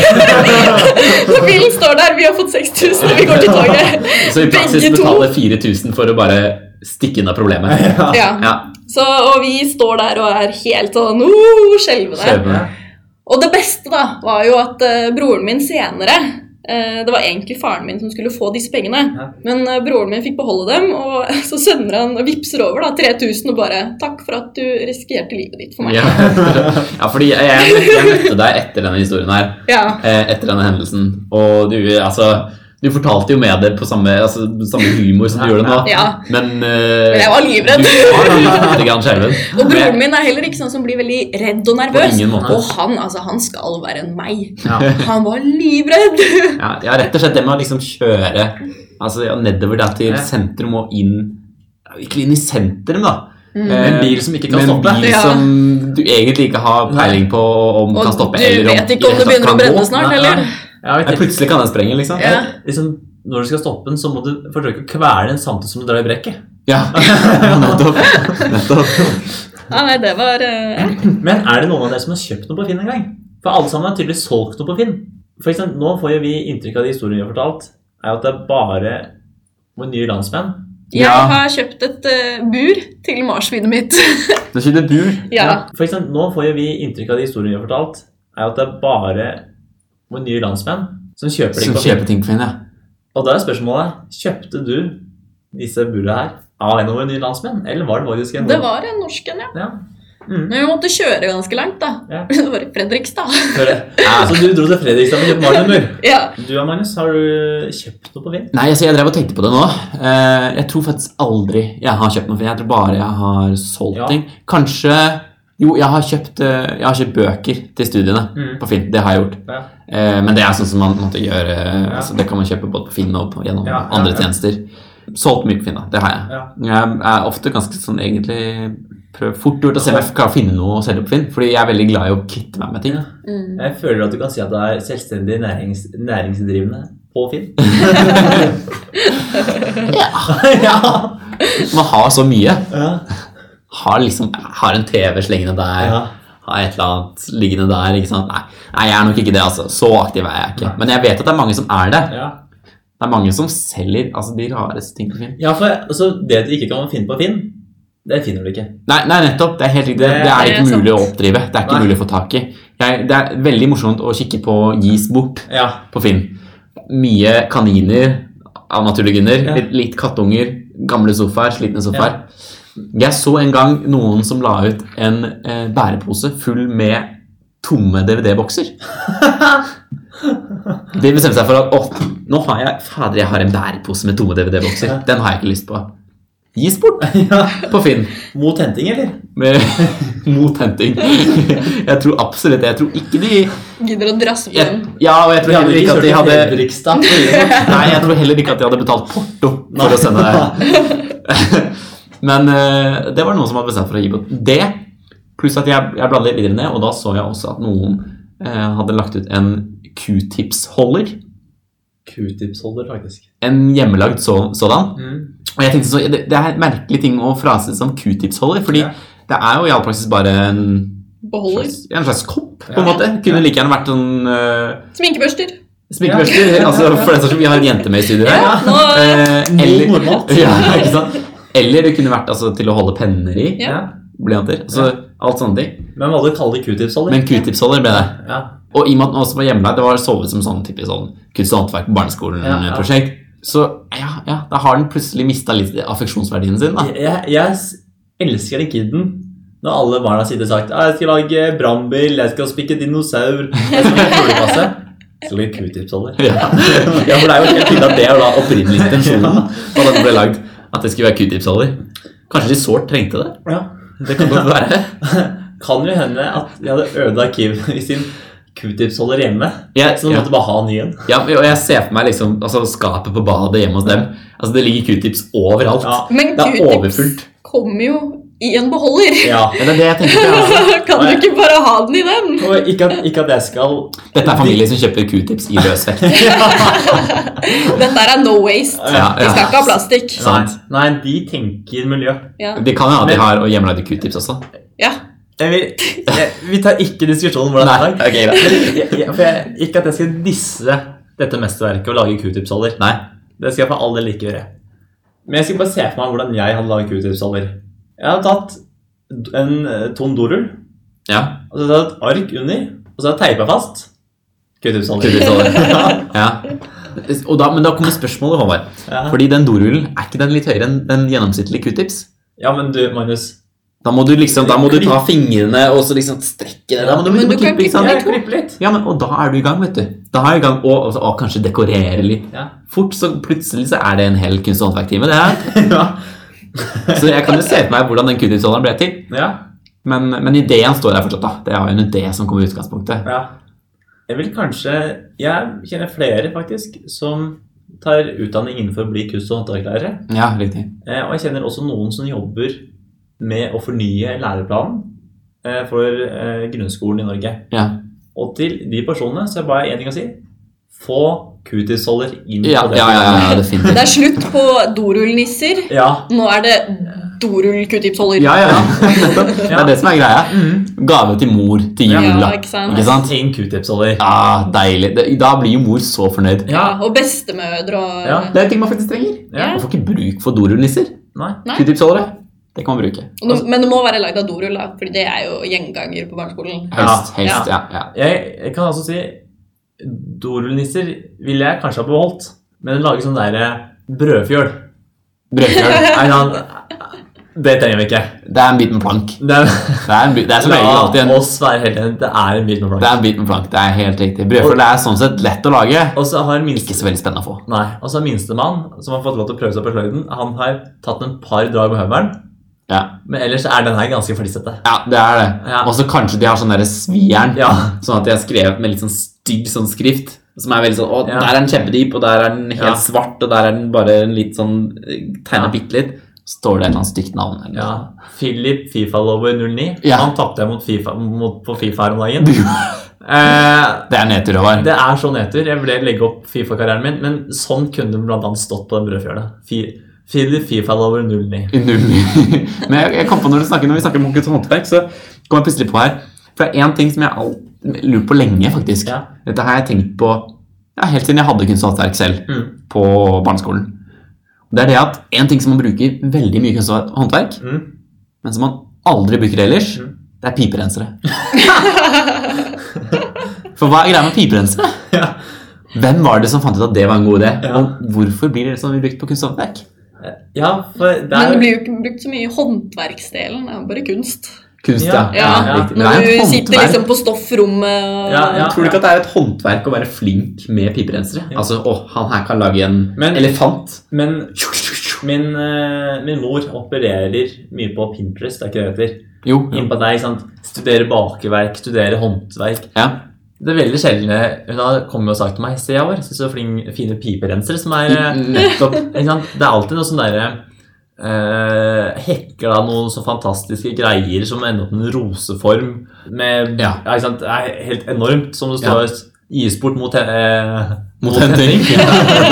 [SPEAKER 3] Så bilen står der. Vi har fått 6000, og vi går til toget.
[SPEAKER 1] Så i praksis
[SPEAKER 3] Begge to.
[SPEAKER 1] betaler 4000 for å bare stikke unna problemet.
[SPEAKER 3] Ja.
[SPEAKER 1] Ja,
[SPEAKER 3] Så, og vi står der og er helt sånn uh, skjelvende.
[SPEAKER 1] skjebne.
[SPEAKER 3] Og det beste da, var jo at eh, broren min senere eh, Det var egentlig faren min som skulle få disse pengene,
[SPEAKER 2] Ja.
[SPEAKER 3] men eh, broren min fikk beholde dem. Og så sender han og vipser over da, 3000 og bare 'Takk for at du risikerte livet ditt for meg'.
[SPEAKER 1] Ja. ja, fordi jeg, jeg, jeg møtte deg etter denne historien her.
[SPEAKER 3] Ja.
[SPEAKER 1] eh, etter denne hendelsen. Og du, altså, du fortalte jo med det på samme, altså, samme humor som du gjør det nå.
[SPEAKER 3] Ja.
[SPEAKER 1] Men, eh,
[SPEAKER 3] Men jeg var livredd.
[SPEAKER 1] Du var litt grann skjelven.
[SPEAKER 3] Og broren min er heller ikke sånn som blir veldig redd og
[SPEAKER 1] På
[SPEAKER 3] nervøs.
[SPEAKER 1] ingen måte.
[SPEAKER 3] Og han altså, han skal være en meg.
[SPEAKER 2] Ja.
[SPEAKER 3] Han var livredd!
[SPEAKER 1] Ja, ja, rett og slett det med å liksom kjøre altså, ja, nedover der til
[SPEAKER 2] Ja.
[SPEAKER 1] sentrum og inn ja, Ikke inn i sentrum, da.
[SPEAKER 3] Mm.
[SPEAKER 1] Eh,
[SPEAKER 2] En bil som ikke kan
[SPEAKER 1] Med en
[SPEAKER 2] stoppe.
[SPEAKER 1] bil
[SPEAKER 3] Ja.
[SPEAKER 1] som du egentlig ikke har peiling på om
[SPEAKER 3] Og
[SPEAKER 1] kan stoppe.
[SPEAKER 3] du
[SPEAKER 1] eller
[SPEAKER 3] vet ikke om
[SPEAKER 1] i
[SPEAKER 3] det
[SPEAKER 1] hele tatt
[SPEAKER 3] begynner å
[SPEAKER 1] kan
[SPEAKER 3] brenne
[SPEAKER 1] gå.
[SPEAKER 3] snart,
[SPEAKER 2] Nei,
[SPEAKER 3] heller.
[SPEAKER 2] nei. Ja, jeg
[SPEAKER 1] Ja,
[SPEAKER 2] tenker-
[SPEAKER 1] plutselig kan den sprenge, liksom.
[SPEAKER 3] Ja.
[SPEAKER 2] liksom, når du skal stoppe den, så må du forsøke å kvele den samtidig som du drar i brekket.
[SPEAKER 1] Ja, nettopp. nettopp.
[SPEAKER 3] Ja, nei, det var eh,
[SPEAKER 2] Men er det noen av dere som har kjøpt noe på Finn en gang? For alle sammen har tydeligvis solgt noe på Finn. For eksempel, nå får jo vi inntrykk av de historiene vi har fortalt, er jo at det er bare våre nye landsmenn.
[SPEAKER 1] Ja.
[SPEAKER 3] Jeg har kjøpt et eh, bur til marsvinet mitt.
[SPEAKER 1] Nå sitter det bur.
[SPEAKER 3] Ja.
[SPEAKER 2] For eksempel, nå får jo vi inntrykk av de historiene vi har fortalt, er jo at det er bare våre nye landsmenn som kjøper ting
[SPEAKER 1] Som
[SPEAKER 2] på Finn.
[SPEAKER 1] kjøper ting på Finn, ja.
[SPEAKER 2] Og da er spørsmålet, kjøpte du disse burene her av en av våre nye landsmenn, eller var det faktisk en
[SPEAKER 3] Det var en norsk en, ja.
[SPEAKER 2] Ja. Mm.
[SPEAKER 3] Men vi måtte kjøre ganske langt, da.
[SPEAKER 2] Ja.
[SPEAKER 3] Det var i Fredrikstad.
[SPEAKER 2] Før det. Så du dro til Fredrikstad for å kjøpe Magnumur.
[SPEAKER 3] Ja.
[SPEAKER 2] Du og Magnus, har du kjøpt noe på Finn?
[SPEAKER 1] Nei, altså jeg drev og tenkte på det nå. Eh, jeg tror faktisk aldri jeg har kjøpt noe. For jeg tror bare jeg har solgt
[SPEAKER 2] Ja.
[SPEAKER 1] ting. Kanskje Jo, jeg har kjøpt, eh, jeg har kjøpt bøker til studiene
[SPEAKER 2] Mm.
[SPEAKER 1] på Finn. Det har jeg gjort.
[SPEAKER 2] Ja.
[SPEAKER 1] Eh, men det er sånn som man måtte gjøre. eh, altså, det kan man kjøpe både på Finn og på, gjennom
[SPEAKER 2] Ja, ja,
[SPEAKER 1] andre
[SPEAKER 2] ja.
[SPEAKER 1] tjenester. Solgt mye på Finn, da. Det har jeg.
[SPEAKER 2] Ja.
[SPEAKER 1] Jeg er ofte ganske sånn egentlig prøv, fort gjort å se om jeg kan finne noe å selge på Finn. Fordi jeg er veldig glad i å kvitte meg med ting.
[SPEAKER 3] Mm.
[SPEAKER 2] Jeg føler at du kan si at du er selvstendig nærings, næringsdrivende på Finn. ja.
[SPEAKER 1] Man har så mye.
[SPEAKER 2] ja.
[SPEAKER 1] Har liksom Har en TV slengende der.
[SPEAKER 2] ja.
[SPEAKER 1] ha et eller annet liggende der. ikke sant? Nei, nei jeg er nok ikke det. altså. Så aktiv er jeg ikke.
[SPEAKER 2] Nei.
[SPEAKER 1] Men jeg vet at det er mange som er det.
[SPEAKER 2] ja.
[SPEAKER 1] Det er mange som selger altså de rareste ting på Finn.
[SPEAKER 2] ja for altså, det du ikke kan finne på Finn, det finner du ikke.
[SPEAKER 1] Nei, nei nettopp. Det er helt riktig. Det,
[SPEAKER 2] Det-
[SPEAKER 1] det er
[SPEAKER 3] det er
[SPEAKER 1] ikke mulig å
[SPEAKER 3] sant.
[SPEAKER 1] oppdrive. Det er ikke
[SPEAKER 2] Nei.
[SPEAKER 1] mulig å få tak i. Jeg, det er veldig morsomt å kikke på gis bort
[SPEAKER 2] Ja.
[SPEAKER 1] på Finn. Mye kaniner av naturlige grunner.
[SPEAKER 2] Ja.
[SPEAKER 1] Litt, litt kattunger. Gamle sofaer. Slitne sofaer. Jeg så en gang noen som la ut en eh, bærepose full med tomme DVD-bokser. De bestemte seg for at åh, nå har jeg fader, jeg har en bærepose med tomme DVD-bokser. Den har jeg ikke lyst på. Gis bort
[SPEAKER 2] ja.
[SPEAKER 1] på Finn.
[SPEAKER 2] Mot henting, eller?
[SPEAKER 1] Med, mot henting. Jeg tror absolutt det. Jeg tror ikke de
[SPEAKER 3] Gidder å drasse på
[SPEAKER 1] jeg,
[SPEAKER 3] den.
[SPEAKER 1] Ja, og jeg tror heller ikke at de hadde
[SPEAKER 2] Fredrikstad.
[SPEAKER 1] Nei, jeg tror heller ikke at de hadde betalt porto for å sende det. Men eh, det var noen som hadde bestemt seg for å gi bort det. Pluss at jeg, jeg bladde litt videre ned, og da så jeg også at noen eh, hadde lagt ut en q-tips-holder.
[SPEAKER 2] Q-tips-holder, faktisk.
[SPEAKER 1] En hjemmelagd så, sådan.
[SPEAKER 2] Mm.
[SPEAKER 1] Og jeg tenkte så, det, det er en merkelig ting å frase som q-tips-holder, fordi
[SPEAKER 2] Ja.
[SPEAKER 1] det er jo i all praksis bare en
[SPEAKER 3] Beholder.
[SPEAKER 1] slags, en slags kopp, på
[SPEAKER 2] Ja.
[SPEAKER 1] en måte. Kunne like gjerne vært sånn eh,
[SPEAKER 3] Sminkebørster.
[SPEAKER 1] sminkebørster. altså, for det er sånn, vi har en jente med i studio her.
[SPEAKER 3] Ja, nå
[SPEAKER 1] Eh,
[SPEAKER 2] Mot
[SPEAKER 1] eller,
[SPEAKER 2] normalt.
[SPEAKER 1] ja, ikke sant? eller det kunne vært altså, til å holde penner i.
[SPEAKER 3] Ja.
[SPEAKER 1] Blyanter. Altså, Alt sånne ting.
[SPEAKER 2] Men hva hadde du kalt det? Q-tips-holder?
[SPEAKER 1] Men q-tipsholder ble det.
[SPEAKER 2] Ja.
[SPEAKER 1] Og i og med at den også var hjemmeleid, det var sovet som sånn typisk sånn kunst- og håndverk på
[SPEAKER 2] Ja, ja.
[SPEAKER 1] barneskolen-prosjekt. Så ja, ja, da har den plutselig mista litt affeksjonsverdien sin, da.
[SPEAKER 2] Jeg, jeg, jeg s- elsker den kiden når alle barna sitter og sagt «Ah, 'Jeg skal lage brannbil, jeg skal spikke dinosaur', jeg skal lage fuglekasse. Jeg skal lage Q-tips-holder.
[SPEAKER 1] Ja. ja, for det er jo helt tydelig at det er da opprinnelig intensjonen da den ble lagd, at det skulle være q-tipsholder. Kanskje de sårt trengte det?
[SPEAKER 2] Ja.
[SPEAKER 1] Det kan godt være.
[SPEAKER 2] Kan jo hende at de hadde ødelagt Kim i sin Q-tips-holder hjemme.
[SPEAKER 1] Jeg,
[SPEAKER 2] Så de
[SPEAKER 1] ja.
[SPEAKER 2] måtte bare ha en ny en.
[SPEAKER 1] Ja, og jeg ser for meg liksom altså, skapet på badet hjemme hos dem. Altså, Det ligger q-tips overalt.
[SPEAKER 2] Ja.
[SPEAKER 3] Men
[SPEAKER 1] Det er
[SPEAKER 3] q-tips
[SPEAKER 1] overfullt.
[SPEAKER 3] kommer jo i en beholder.
[SPEAKER 2] ja.
[SPEAKER 1] Ja, det er det jeg tenker på. Altså.
[SPEAKER 3] kan du ikke bare ha den i den?
[SPEAKER 2] Og ikke at, ikke at jeg skal
[SPEAKER 1] Dette er familier som kjøper q-tips i løs vekt.
[SPEAKER 3] Dette er no waste.
[SPEAKER 1] Ja,
[SPEAKER 3] Vi skal
[SPEAKER 1] ja.
[SPEAKER 3] ikke ha plastikk.
[SPEAKER 2] Nei,
[SPEAKER 1] Sant.
[SPEAKER 2] nei, de tenker miljø.
[SPEAKER 3] Ja.
[SPEAKER 1] De kan jo ha de har og hjemmelagde q-tips også.
[SPEAKER 3] ja.
[SPEAKER 2] Jeg vil, jeg, vi tar ikke diskusjonen om hvordan
[SPEAKER 1] Nei,
[SPEAKER 2] det er.
[SPEAKER 1] ok, greit.
[SPEAKER 2] Jeg, jeg, for jeg, ikke at jeg skal disse dette mesterverket og lage q-tipsholder. Nei, Det skal jeg for all del ikke gjøre. Men jeg skal bare se for meg hvordan jeg hadde laget q-tipsholder. Jeg hadde tatt en eh, tom dorull,
[SPEAKER 1] Ja,
[SPEAKER 2] og så hadde jeg et ark under, og så hadde jeg teipa fast q-tipsholder.
[SPEAKER 1] q-tipsholder.
[SPEAKER 2] Ja,
[SPEAKER 1] Ja. Og da, men da kommer spørsmålet, Håvard.
[SPEAKER 2] ja.
[SPEAKER 1] Fordi den dorullen, er ikke den litt høyere enn den gjennomsnittlige q-tips?
[SPEAKER 2] ja, men du, Magnus.
[SPEAKER 1] Da må du liksom, da må du ta fingrene og så liksom strekke det. Da må du,
[SPEAKER 3] Men du kan
[SPEAKER 1] klippe, ikke sant?
[SPEAKER 3] klippe
[SPEAKER 2] Jeg klipper litt.
[SPEAKER 1] Ja, men, og da er du i gang, vet du. Da er du i gang, og, og, så- å, kanskje dekorere litt.
[SPEAKER 2] Ja.
[SPEAKER 1] Fort, så plutselig så er det en hel kunst- og håndverktime. det her.
[SPEAKER 2] Ja.
[SPEAKER 1] Så jeg kan jo se for meg hvordan den kunstutholderen ble til.
[SPEAKER 2] ja.
[SPEAKER 1] Men, men ideen står der fortsatt. da. Det er jo en idé som kommer i utgangspunktet.
[SPEAKER 2] Ja. Jeg vil kanskje Jeg kjenner flere, faktisk, som tar utdanning innenfor å bli kunst- og håndverklærere.
[SPEAKER 1] Ja, riktig.
[SPEAKER 2] Eh, og jeg kjenner også noen som jobber med å fornye læreplanen eh, for eh, grunnskolen i Norge.
[SPEAKER 1] Ja,
[SPEAKER 2] Og til de personene så er det bare én ting å si. Få Q-tips-holder inn
[SPEAKER 1] ja,
[SPEAKER 2] på
[SPEAKER 1] ja,
[SPEAKER 2] det.
[SPEAKER 1] ja, ja, ja
[SPEAKER 3] Det
[SPEAKER 1] definitivt.
[SPEAKER 3] er slutt på dorullnisser.
[SPEAKER 2] Ja,
[SPEAKER 3] Nå er det dorull-q-tipsholder.
[SPEAKER 1] Ja, ja, ja. Nettopp. Det er det som er greia.
[SPEAKER 2] Mm.
[SPEAKER 1] Gave til mor til
[SPEAKER 3] Ja,
[SPEAKER 1] jula.
[SPEAKER 3] ikke sant?
[SPEAKER 1] Ikke sant?
[SPEAKER 2] Inn Q-tips-holder.
[SPEAKER 1] Ja, deilig. Det- Da blir jo mor så fornøyd.
[SPEAKER 3] Ja,
[SPEAKER 2] Ja.
[SPEAKER 3] og bestemødre og
[SPEAKER 2] Ja.
[SPEAKER 1] Det er en ting man faktisk trenger.
[SPEAKER 2] Ja.
[SPEAKER 1] Man får ikke bruk for dorullnisser.
[SPEAKER 2] Nei.
[SPEAKER 3] Nei.
[SPEAKER 1] Q-tipsholdere, det kan man bruke.
[SPEAKER 3] og nå- Men det må være lagd av dorull, da, for det er jo gjenganger på barneskolen.
[SPEAKER 1] Helst,
[SPEAKER 3] Ja.
[SPEAKER 1] helst, ja. ja.
[SPEAKER 2] Jeg, jeg kan altså si Dorullnisser ville jeg kanskje ha beholdt, men lage sånn derre brødfjøl.
[SPEAKER 1] Brødkjøl.
[SPEAKER 2] Nei, da, det trenger vi ikke.
[SPEAKER 1] Det er en bit med plank.
[SPEAKER 2] Det er,
[SPEAKER 1] Det er, en bit, det er som regel alltid
[SPEAKER 2] la
[SPEAKER 1] en,
[SPEAKER 2] oss være helt enige. Det er en bit
[SPEAKER 1] det
[SPEAKER 2] med plank.
[SPEAKER 1] er en bit med plank. Det er helt riktig. Brødfølge er sånn sett lett å lage.
[SPEAKER 2] Og så har
[SPEAKER 1] Ikke
[SPEAKER 2] minste,
[SPEAKER 1] så veldig spennende å få.
[SPEAKER 2] nei, og så har minstemann, som har fått lov til å prøve seg på sløyden, han har tatt en par drag med høvelen.
[SPEAKER 1] Ja,
[SPEAKER 2] Men ellers er den her ganske flissete.
[SPEAKER 1] ja det er det.
[SPEAKER 2] Ja.
[SPEAKER 1] Og så kanskje de har sånn derre svijern,
[SPEAKER 2] Ja.
[SPEAKER 1] sånn at de har skrevet med litt sånn stygg sånn skrift. Som er veldig sånn Å,
[SPEAKER 2] Ja.
[SPEAKER 1] der er den kjempedyp, og der er den helt
[SPEAKER 2] Ja.
[SPEAKER 1] svart, og der er den bare en litt sånn tegna
[SPEAKER 2] Ja.
[SPEAKER 1] bitte litt. Så står det et eller annet stygt navn. eller
[SPEAKER 2] Ja.
[SPEAKER 1] noe.
[SPEAKER 2] Philip Fifa-lover 09.
[SPEAKER 1] Ja.
[SPEAKER 2] Han tapte jeg mot FIFA, mot, på Fifa her om dagen. Eh,
[SPEAKER 1] Det er nedtur, Håvard.
[SPEAKER 2] det er så nedtur. Jeg ville legge opp Fifa-karrieren min, men sånn kunne det blant annet stått på den brødfjøla. Fi- Philip Fifa-lover 09.
[SPEAKER 1] Null. Men jeg, jeg kom på når, du snakker, når vi snakker om kunst og håndverk, så kom jeg plutselig på her. For det er én ting som jeg alt, lurer på lenge, faktisk.
[SPEAKER 2] Ja.
[SPEAKER 1] Dette har jeg tenkt på ja, helt siden jeg hadde kunst og håndverk selv
[SPEAKER 2] Mm.
[SPEAKER 1] på barneskolen. Det er det at en ting som man bruker veldig mye i kunst og håndverk,
[SPEAKER 2] Mm.
[SPEAKER 1] men som man aldri bruker ellers,
[SPEAKER 2] Mm.
[SPEAKER 1] det er piperensere. For hva er greia med piperensere?
[SPEAKER 2] Ja.
[SPEAKER 1] Hvem var det som fant ut at det var en god idé?
[SPEAKER 2] Ja.
[SPEAKER 1] Og hvorfor blir det sånn vi brukt på kunst og håndverk?
[SPEAKER 2] Ja, for det
[SPEAKER 3] Men det
[SPEAKER 2] er
[SPEAKER 3] blir jo ikke brukt så mye i håndverksdelen. Det er jo bare kunst.
[SPEAKER 1] Kunst, ja.
[SPEAKER 2] Ja, ja.
[SPEAKER 1] riktig. Men det
[SPEAKER 3] Når
[SPEAKER 1] er
[SPEAKER 3] du
[SPEAKER 1] et
[SPEAKER 3] sitter
[SPEAKER 1] håndverk.
[SPEAKER 3] liksom på stoffrommet og
[SPEAKER 2] Ja, ja.
[SPEAKER 1] Tror du ikke at det er et håndverk å være flink med piperensere?
[SPEAKER 2] Jo.
[SPEAKER 1] Altså, å, han her kan lage en
[SPEAKER 2] Men-
[SPEAKER 1] elefant.
[SPEAKER 2] Men min, eh, min mor opererer mye på Pinterest, det er ikke det det heter.
[SPEAKER 1] Jo.
[SPEAKER 2] Inn på deg, ikke sant? Studere bakeverk, studere håndverk.
[SPEAKER 1] Ja.
[SPEAKER 2] Det er veldig sjelden eh, Hun har kommet og sagt til meg Se, jeg var så flink, fine piperensere som er
[SPEAKER 1] Mm,
[SPEAKER 2] eh,
[SPEAKER 1] Nettopp.
[SPEAKER 2] ikke sant? Det er alltid noe sånn derre eh, Hekker av noen så fantastiske greier som ender opp med en roseform med
[SPEAKER 1] Ja.
[SPEAKER 2] ikke sant? Det er helt enormt, som det står Gis bort mot, eh,
[SPEAKER 1] Mot en ting.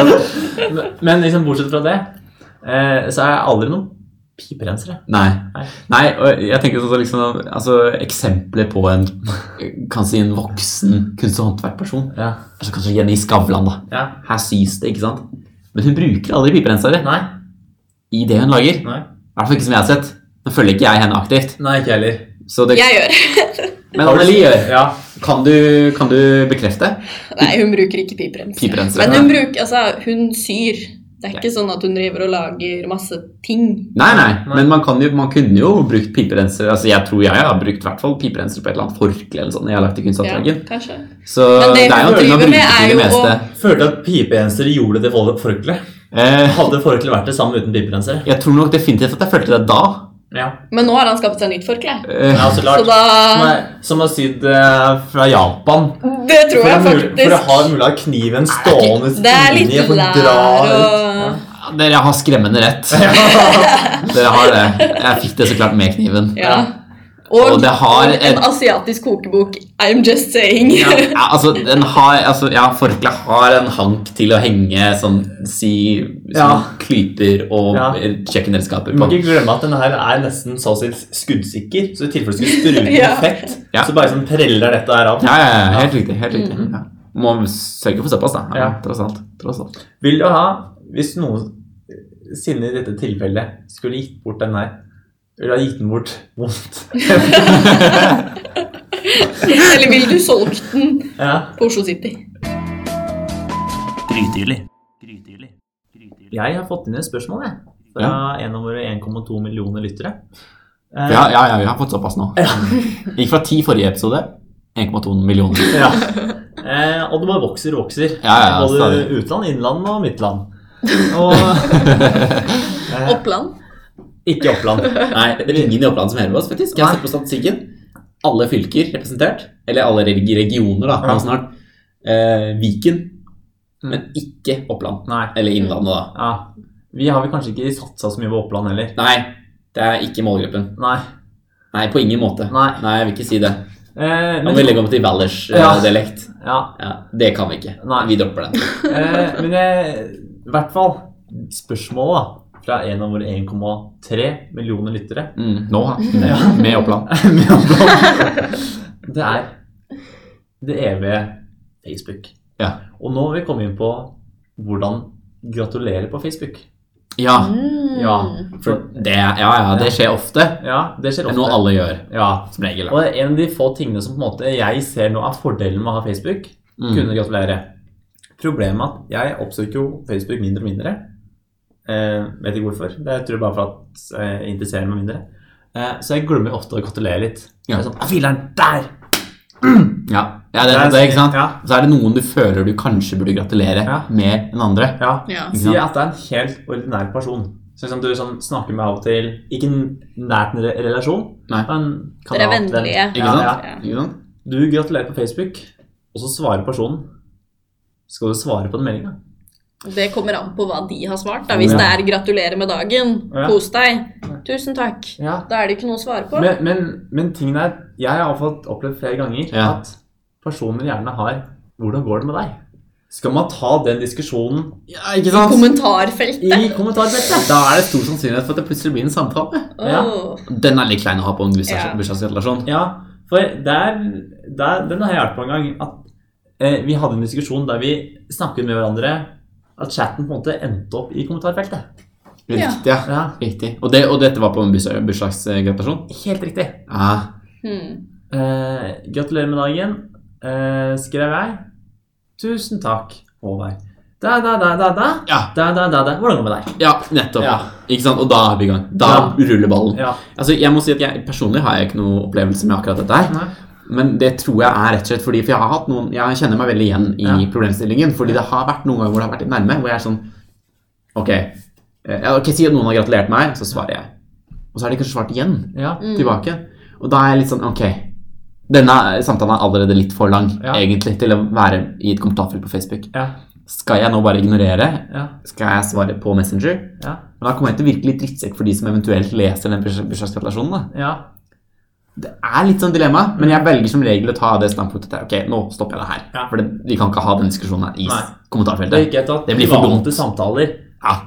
[SPEAKER 2] Men- Men liksom, bortsett fra det, eh, så er jeg aldri noen piperensere.
[SPEAKER 1] Nei.
[SPEAKER 2] Nei.
[SPEAKER 1] Nei, og jeg tenker sånn liksom, altså, Eksempler på en kan si en voksen kunst- og håndverkperson
[SPEAKER 2] Ja.
[SPEAKER 1] altså, Kanskje Jenny Skavlan, da.
[SPEAKER 2] ja.
[SPEAKER 1] Her sys det, ikke sant? Men hun bruker aldri piperensere
[SPEAKER 2] Nei.
[SPEAKER 1] i det hun lager.
[SPEAKER 2] Nei.
[SPEAKER 1] I hvert fall ikke som jeg har sett. Nå følger ikke jeg henne aktivt.
[SPEAKER 2] Nei, ikke jeg heller.
[SPEAKER 1] Så det,
[SPEAKER 3] Jeg gjør
[SPEAKER 1] men Anneli gjør.
[SPEAKER 2] Ja.
[SPEAKER 1] Kan du, kan du bekrefte?
[SPEAKER 3] Nei, hun bruker ikke piprens.
[SPEAKER 1] Piperensere.
[SPEAKER 3] Men hun bruker Altså, hun syr. Det er ikke sånn at hun driver og lager masse ting.
[SPEAKER 1] Nei, nei,
[SPEAKER 2] Nei.
[SPEAKER 1] men man, kan jo, man kunne jo brukt piperenser. Altså, jeg tror jeg har brukt i hvert fall piperenser på et eller annet forkle eller sånn. Jeg har lagt i
[SPEAKER 3] Ja,
[SPEAKER 1] kunsthandtrekken.
[SPEAKER 3] kanskje.
[SPEAKER 1] Så
[SPEAKER 3] Men
[SPEAKER 1] det,
[SPEAKER 3] det
[SPEAKER 1] er jo
[SPEAKER 3] hun
[SPEAKER 1] en ting man
[SPEAKER 3] driver med
[SPEAKER 1] bruker til
[SPEAKER 3] er
[SPEAKER 1] det
[SPEAKER 3] jo
[SPEAKER 1] meste.
[SPEAKER 2] Følte at piperensere gjorde det for- forkleet.
[SPEAKER 1] Eh,
[SPEAKER 2] Hadde forkleet vært det samme uten piperensere?
[SPEAKER 1] jeg tror nok definitivt at jeg følte det da.
[SPEAKER 2] Ja.
[SPEAKER 3] Men nå har han skaffet seg nytt forkle.
[SPEAKER 1] Eh,
[SPEAKER 2] ja, så
[SPEAKER 3] Så
[SPEAKER 2] klart.
[SPEAKER 3] da
[SPEAKER 2] Som er, som er sydd eh, fra Japan.
[SPEAKER 3] Det tror
[SPEAKER 2] For å,
[SPEAKER 3] jeg
[SPEAKER 2] mul- for å
[SPEAKER 3] faktisk.
[SPEAKER 2] ha mulig å ha kniven stående
[SPEAKER 3] Det er litt
[SPEAKER 2] inni og få
[SPEAKER 3] lær
[SPEAKER 2] dra
[SPEAKER 3] og
[SPEAKER 1] dere har skremmende rett. Dere har det. Jeg fikk det så klart med kniven.
[SPEAKER 3] Ja.
[SPEAKER 1] Og det har
[SPEAKER 3] og en
[SPEAKER 1] et-
[SPEAKER 3] asiatisk kokebok. I'm just saying.
[SPEAKER 1] Ja, altså, den har, altså, ja, forkle har en hank til å henge sånn si
[SPEAKER 2] Ja.
[SPEAKER 1] sånn klyper og
[SPEAKER 2] Ja.
[SPEAKER 1] kjøkkenredskaper
[SPEAKER 2] Du må
[SPEAKER 1] på.
[SPEAKER 2] ikke glemme at denne her er nesten så å si skuddsikker, så i tilfelle det skulle sprute med
[SPEAKER 3] Ja.
[SPEAKER 2] fett,
[SPEAKER 1] Ja.
[SPEAKER 2] så bare sånn preller dette her av.
[SPEAKER 1] Ja, ja, ja, helt riktig. helt riktig. Ja. Må sørge for såpass, da. Ja,
[SPEAKER 2] Ja.
[SPEAKER 1] tross alt. Tross alt.
[SPEAKER 2] Vil du ha, hvis noen siden i dette tilfellet skulle gitt bort den her, ville du ha gitt den bort vondt?
[SPEAKER 3] Eller vil du solgt den
[SPEAKER 2] Ja.
[SPEAKER 3] på Oslo City?
[SPEAKER 2] Grytidlig. Grytidlig. Jeg har fått inn et spørsmål, jeg. Fra en av våre 1,2 millioner lyttere. Eh,
[SPEAKER 1] Ja, ja, ja, vi har fått såpass nå. Gikk fra ti forrige episode. 1,2 millioner.
[SPEAKER 2] ja. Eh, og det bare vokser og vokser.
[SPEAKER 1] Ja, ja, ja,
[SPEAKER 2] Både
[SPEAKER 1] stadig.
[SPEAKER 2] utland, innland og midtland. Og eh,
[SPEAKER 3] Oppland?
[SPEAKER 2] ikke Oppland.
[SPEAKER 1] Nei, det er ingen i Oppland som hører på oss, faktisk. Jeg har sett på statistikken. Alle fylker representert. Eller alle regi- regioner, da.
[SPEAKER 2] Ja. Mm.
[SPEAKER 1] nå snart. Eh, Viken. Men ikke Oppland.
[SPEAKER 2] Nei.
[SPEAKER 1] Eller Innlandet, da.
[SPEAKER 2] Ja. Vi har vel kanskje ikke satsa så mye på Oppland heller.
[SPEAKER 1] Nei, det er ikke målgruppen.
[SPEAKER 2] Nei.
[SPEAKER 1] Nei, på ingen måte.
[SPEAKER 2] Nei.
[SPEAKER 1] jeg vil ikke si det. Da
[SPEAKER 2] Eh,
[SPEAKER 1] må vi
[SPEAKER 2] men,
[SPEAKER 1] legge om til
[SPEAKER 2] Ja.
[SPEAKER 1] Valdres-dialekt.
[SPEAKER 2] ja,
[SPEAKER 1] Ja, det kan vi ikke.
[SPEAKER 2] Nei.
[SPEAKER 1] Vi dropper den.
[SPEAKER 2] eh, men jeg, i hvert fall spørsmålet da, fra en av våre 1,3 millioner lyttere
[SPEAKER 1] Mm. Nå, med, med Oppland.
[SPEAKER 2] med Oppland, det er det evige Facebook.
[SPEAKER 1] Ja.
[SPEAKER 2] Og nå vil vi komme inn på hvordan gratulere på Facebook.
[SPEAKER 1] Ja,
[SPEAKER 3] Mm.
[SPEAKER 2] Ja.
[SPEAKER 1] for det, ja, ja, det skjer ofte.
[SPEAKER 2] Ja, det skjer
[SPEAKER 1] Det er
[SPEAKER 2] ofte.
[SPEAKER 1] noe alle gjør,
[SPEAKER 2] Ja.
[SPEAKER 1] som regel.
[SPEAKER 2] Og en av de få tingene som på en måte jeg ser nå er fordelen med å ha Facebook,
[SPEAKER 1] Mm.
[SPEAKER 2] kunne gratulere. Problemet er at jeg oppsøker jo Facebook mindre og mindre. Eh, vet ikke hvorfor. Det er, tror jeg bare for at eh, jeg interesserer meg mindre. Eh, så jeg glemmer ofte å gratulere litt.
[SPEAKER 1] Ja.
[SPEAKER 2] Jeg er sånn, «Ah, fileren, der!
[SPEAKER 1] Ja, ja det, det, ikke sant?
[SPEAKER 2] Ja,
[SPEAKER 1] Så er det noen du føler du kanskje burde gratulere
[SPEAKER 2] Ja.
[SPEAKER 1] mer enn andre.
[SPEAKER 2] ja.
[SPEAKER 3] Ja.
[SPEAKER 1] Ikke
[SPEAKER 2] Si
[SPEAKER 1] sant?
[SPEAKER 2] Sånn at det er en helt ordinær person. Så liksom du sånn, snakker med av og til Ikke nært en re- relasjon,
[SPEAKER 1] Nei.
[SPEAKER 2] men
[SPEAKER 3] Dere er
[SPEAKER 2] venn.
[SPEAKER 1] Ikke
[SPEAKER 3] vennlige.
[SPEAKER 2] Sånn Ja,
[SPEAKER 1] sant?
[SPEAKER 2] ja.
[SPEAKER 1] Ikke sant?
[SPEAKER 2] Du gratulerer på Facebook, og så svarer personen. Skal du svare på den meldinga?
[SPEAKER 3] Det kommer an på hva de har svart. Da. Hvis
[SPEAKER 2] Sånn, Ja.
[SPEAKER 3] det er 'gratulerer med dagen',
[SPEAKER 2] Ja.
[SPEAKER 3] kos deg, tusen takk.
[SPEAKER 2] Ja.
[SPEAKER 3] Da er det ikke noe å svare på.
[SPEAKER 2] Men, men, men tingen er, jeg har iallfall opplevd flere ganger
[SPEAKER 1] Ja.
[SPEAKER 2] at personer gjerne har 'Hvordan går det med deg?' Skal man ta den diskusjonen
[SPEAKER 1] Ja, ikke
[SPEAKER 2] Sånn-
[SPEAKER 3] I
[SPEAKER 1] sant?
[SPEAKER 3] kommentarfeltet.
[SPEAKER 2] i kommentarfeltet?
[SPEAKER 1] Da er det stor sannsynlighet for at det plutselig blir en samtale.
[SPEAKER 2] ja.
[SPEAKER 3] Åh.
[SPEAKER 1] Den er litt klein å ha på en bursdags-
[SPEAKER 3] Ja.
[SPEAKER 1] bursdagsgratulasjon.
[SPEAKER 2] Ja, for der, der, den har jeg hørt på en gang. At eh, vi hadde en diskusjon der vi snakket med hverandre. At chatten på en måte endte opp i kommentarfeltet.
[SPEAKER 3] Ja.
[SPEAKER 1] Riktig, ja.
[SPEAKER 2] Ja,
[SPEAKER 1] Riktig. Og, det, og dette var på en bursdag- bursdagsgratulasjon?
[SPEAKER 2] Helt riktig.
[SPEAKER 1] Ja.
[SPEAKER 3] Hmm.
[SPEAKER 2] Eh, gratulerer med dagen, eh, skrev jeg. Tusen takk, Håvard. Da, da, da, da, da.
[SPEAKER 1] Ja.
[SPEAKER 2] Da, da, da, da. Hvordan går det med deg?
[SPEAKER 1] Ja, nettopp.
[SPEAKER 2] Ja.
[SPEAKER 1] Ikke sant? Og da er vi i gang. Da ruller ballen.
[SPEAKER 2] Ja.
[SPEAKER 1] Altså, jeg må si at jeg, Personlig har jeg ikke noe opplevelse med akkurat dette. her
[SPEAKER 2] Nei.
[SPEAKER 1] Men det tror jeg er rett og slett fordi For jeg har hatt noen Jeg kjenner meg veldig igjen i
[SPEAKER 2] Ja.
[SPEAKER 1] problemstillingen. Fordi det har vært noen ganger hvor det har vært litt nærme. Hvor jeg er sånn Ok, eh, ja, ok, si at noen har gratulert meg, så svarer jeg. Og så har de kanskje svart igjen.
[SPEAKER 2] Ja.
[SPEAKER 1] Tilbake. Og da er jeg litt sånn Ok, denne samtalen er allerede litt for lang
[SPEAKER 2] Ja.
[SPEAKER 1] egentlig til å være i et kommentarfelt på Facebook.
[SPEAKER 2] Ja.
[SPEAKER 1] Skal jeg nå bare ignorere?
[SPEAKER 2] Ja.
[SPEAKER 1] Skal jeg svare på Messenger?
[SPEAKER 2] Ja.
[SPEAKER 1] Men da kommer jeg til å virke litt drittsekk for de som eventuelt leser den burs- bursdagsgratulasjonen. da.
[SPEAKER 2] Ja.
[SPEAKER 1] Det er litt sånn dilemma, men jeg velger som regel å ta det standpunktet der. Ok, nå stopper jeg det her.
[SPEAKER 2] Ja.
[SPEAKER 1] For det, vi kan ikke ha den diskusjonen her i
[SPEAKER 2] Nei. Det er
[SPEAKER 1] kommentarfeltet.
[SPEAKER 2] ikke et at
[SPEAKER 1] Det blir for dumt.
[SPEAKER 2] private samtaler
[SPEAKER 1] Ja,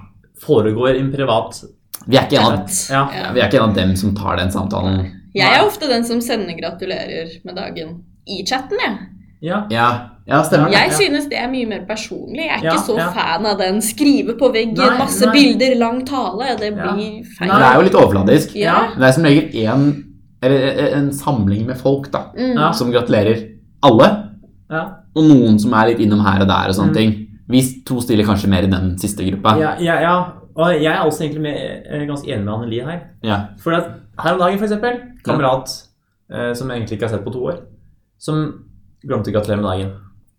[SPEAKER 2] foregår i en privat
[SPEAKER 1] vi er ikke en av,
[SPEAKER 3] Chat.
[SPEAKER 2] Ja.
[SPEAKER 1] ja, vi er ikke en av dem som tar den samtalen.
[SPEAKER 3] Jeg er ofte den som sender gratulerer med dagen i chatten, jeg.
[SPEAKER 2] Ja.
[SPEAKER 1] Ja, ja stemmer. det.
[SPEAKER 3] Jeg synes det er mye mer personlig. Jeg er
[SPEAKER 2] Ja,
[SPEAKER 3] ikke så
[SPEAKER 2] ja.
[SPEAKER 3] fan av den skrive på veggen,
[SPEAKER 2] Nei,
[SPEAKER 3] masse
[SPEAKER 2] nei.
[SPEAKER 3] bilder, lang tale. Det
[SPEAKER 2] Ja.
[SPEAKER 3] blir
[SPEAKER 1] Det
[SPEAKER 3] feil.
[SPEAKER 1] er jo litt overfladisk.
[SPEAKER 3] Ja.
[SPEAKER 1] Det er som regel en, eller en samling med folk da,
[SPEAKER 3] Mm.
[SPEAKER 2] Ja.
[SPEAKER 1] som gratulerer alle,
[SPEAKER 2] Ja.
[SPEAKER 1] og noen som er litt innom her og der og sånne
[SPEAKER 2] Mm.
[SPEAKER 1] ting. Vi to stiller kanskje mer i den siste gruppa.
[SPEAKER 2] Ja, ja, ja. Og jeg er også egentlig med, eh, ganske enig med Anneli her.
[SPEAKER 1] Ja.
[SPEAKER 2] For at her om dagen, for eksempel, kamerat eh, som jeg egentlig ikke har sett på to år, som glemte å gratulere med dagen.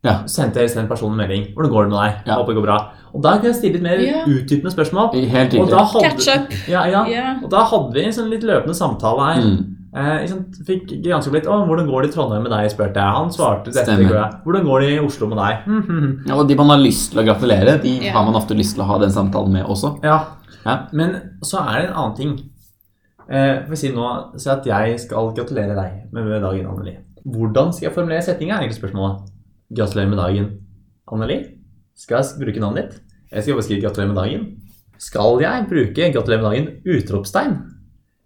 [SPEAKER 1] Ja.
[SPEAKER 2] Så sendte jeg isteden personen en melding. 'Hvordan går det med deg?'
[SPEAKER 1] Ja.
[SPEAKER 2] Håper det går bra. Og da kunne jeg stille litt mer
[SPEAKER 3] Ja.
[SPEAKER 2] utdypende spørsmål.
[SPEAKER 1] Helt
[SPEAKER 2] Og
[SPEAKER 1] riktig.
[SPEAKER 2] da hadde,
[SPEAKER 3] Catch up.
[SPEAKER 2] ja, ja.
[SPEAKER 3] Ja.
[SPEAKER 2] Og da hadde vi en sånn litt løpende samtale her.
[SPEAKER 1] Mm.
[SPEAKER 2] Eh, ikke sant, fikk granska litt. 'Å, hvordan går det i Trondheim med deg?' spurte jeg. Han svarte dette.
[SPEAKER 1] Stemmer.
[SPEAKER 2] går det. 'Hvordan går det i Oslo med deg?' Hm, hm, hm.
[SPEAKER 1] Ja, og de man har lyst til å gratulere, de
[SPEAKER 3] Ja.
[SPEAKER 1] har man ofte lyst til å ha den samtalen med også.
[SPEAKER 2] Ja.
[SPEAKER 1] Ja.
[SPEAKER 2] Men så er det en annen ting. Eh, for å si nå, Si at jeg skal gratulere deg med, med dagen, Anneli. Hvordan skal jeg formulere setninga? er egentlig spørsmålet. Gratulerer med dagen, Anneli. Skal jeg bruke navnet ditt? Jeg skal bare skrive 'gratulerer med dagen'. Skal jeg bruke 'gratulerer med dagen' utropstegn?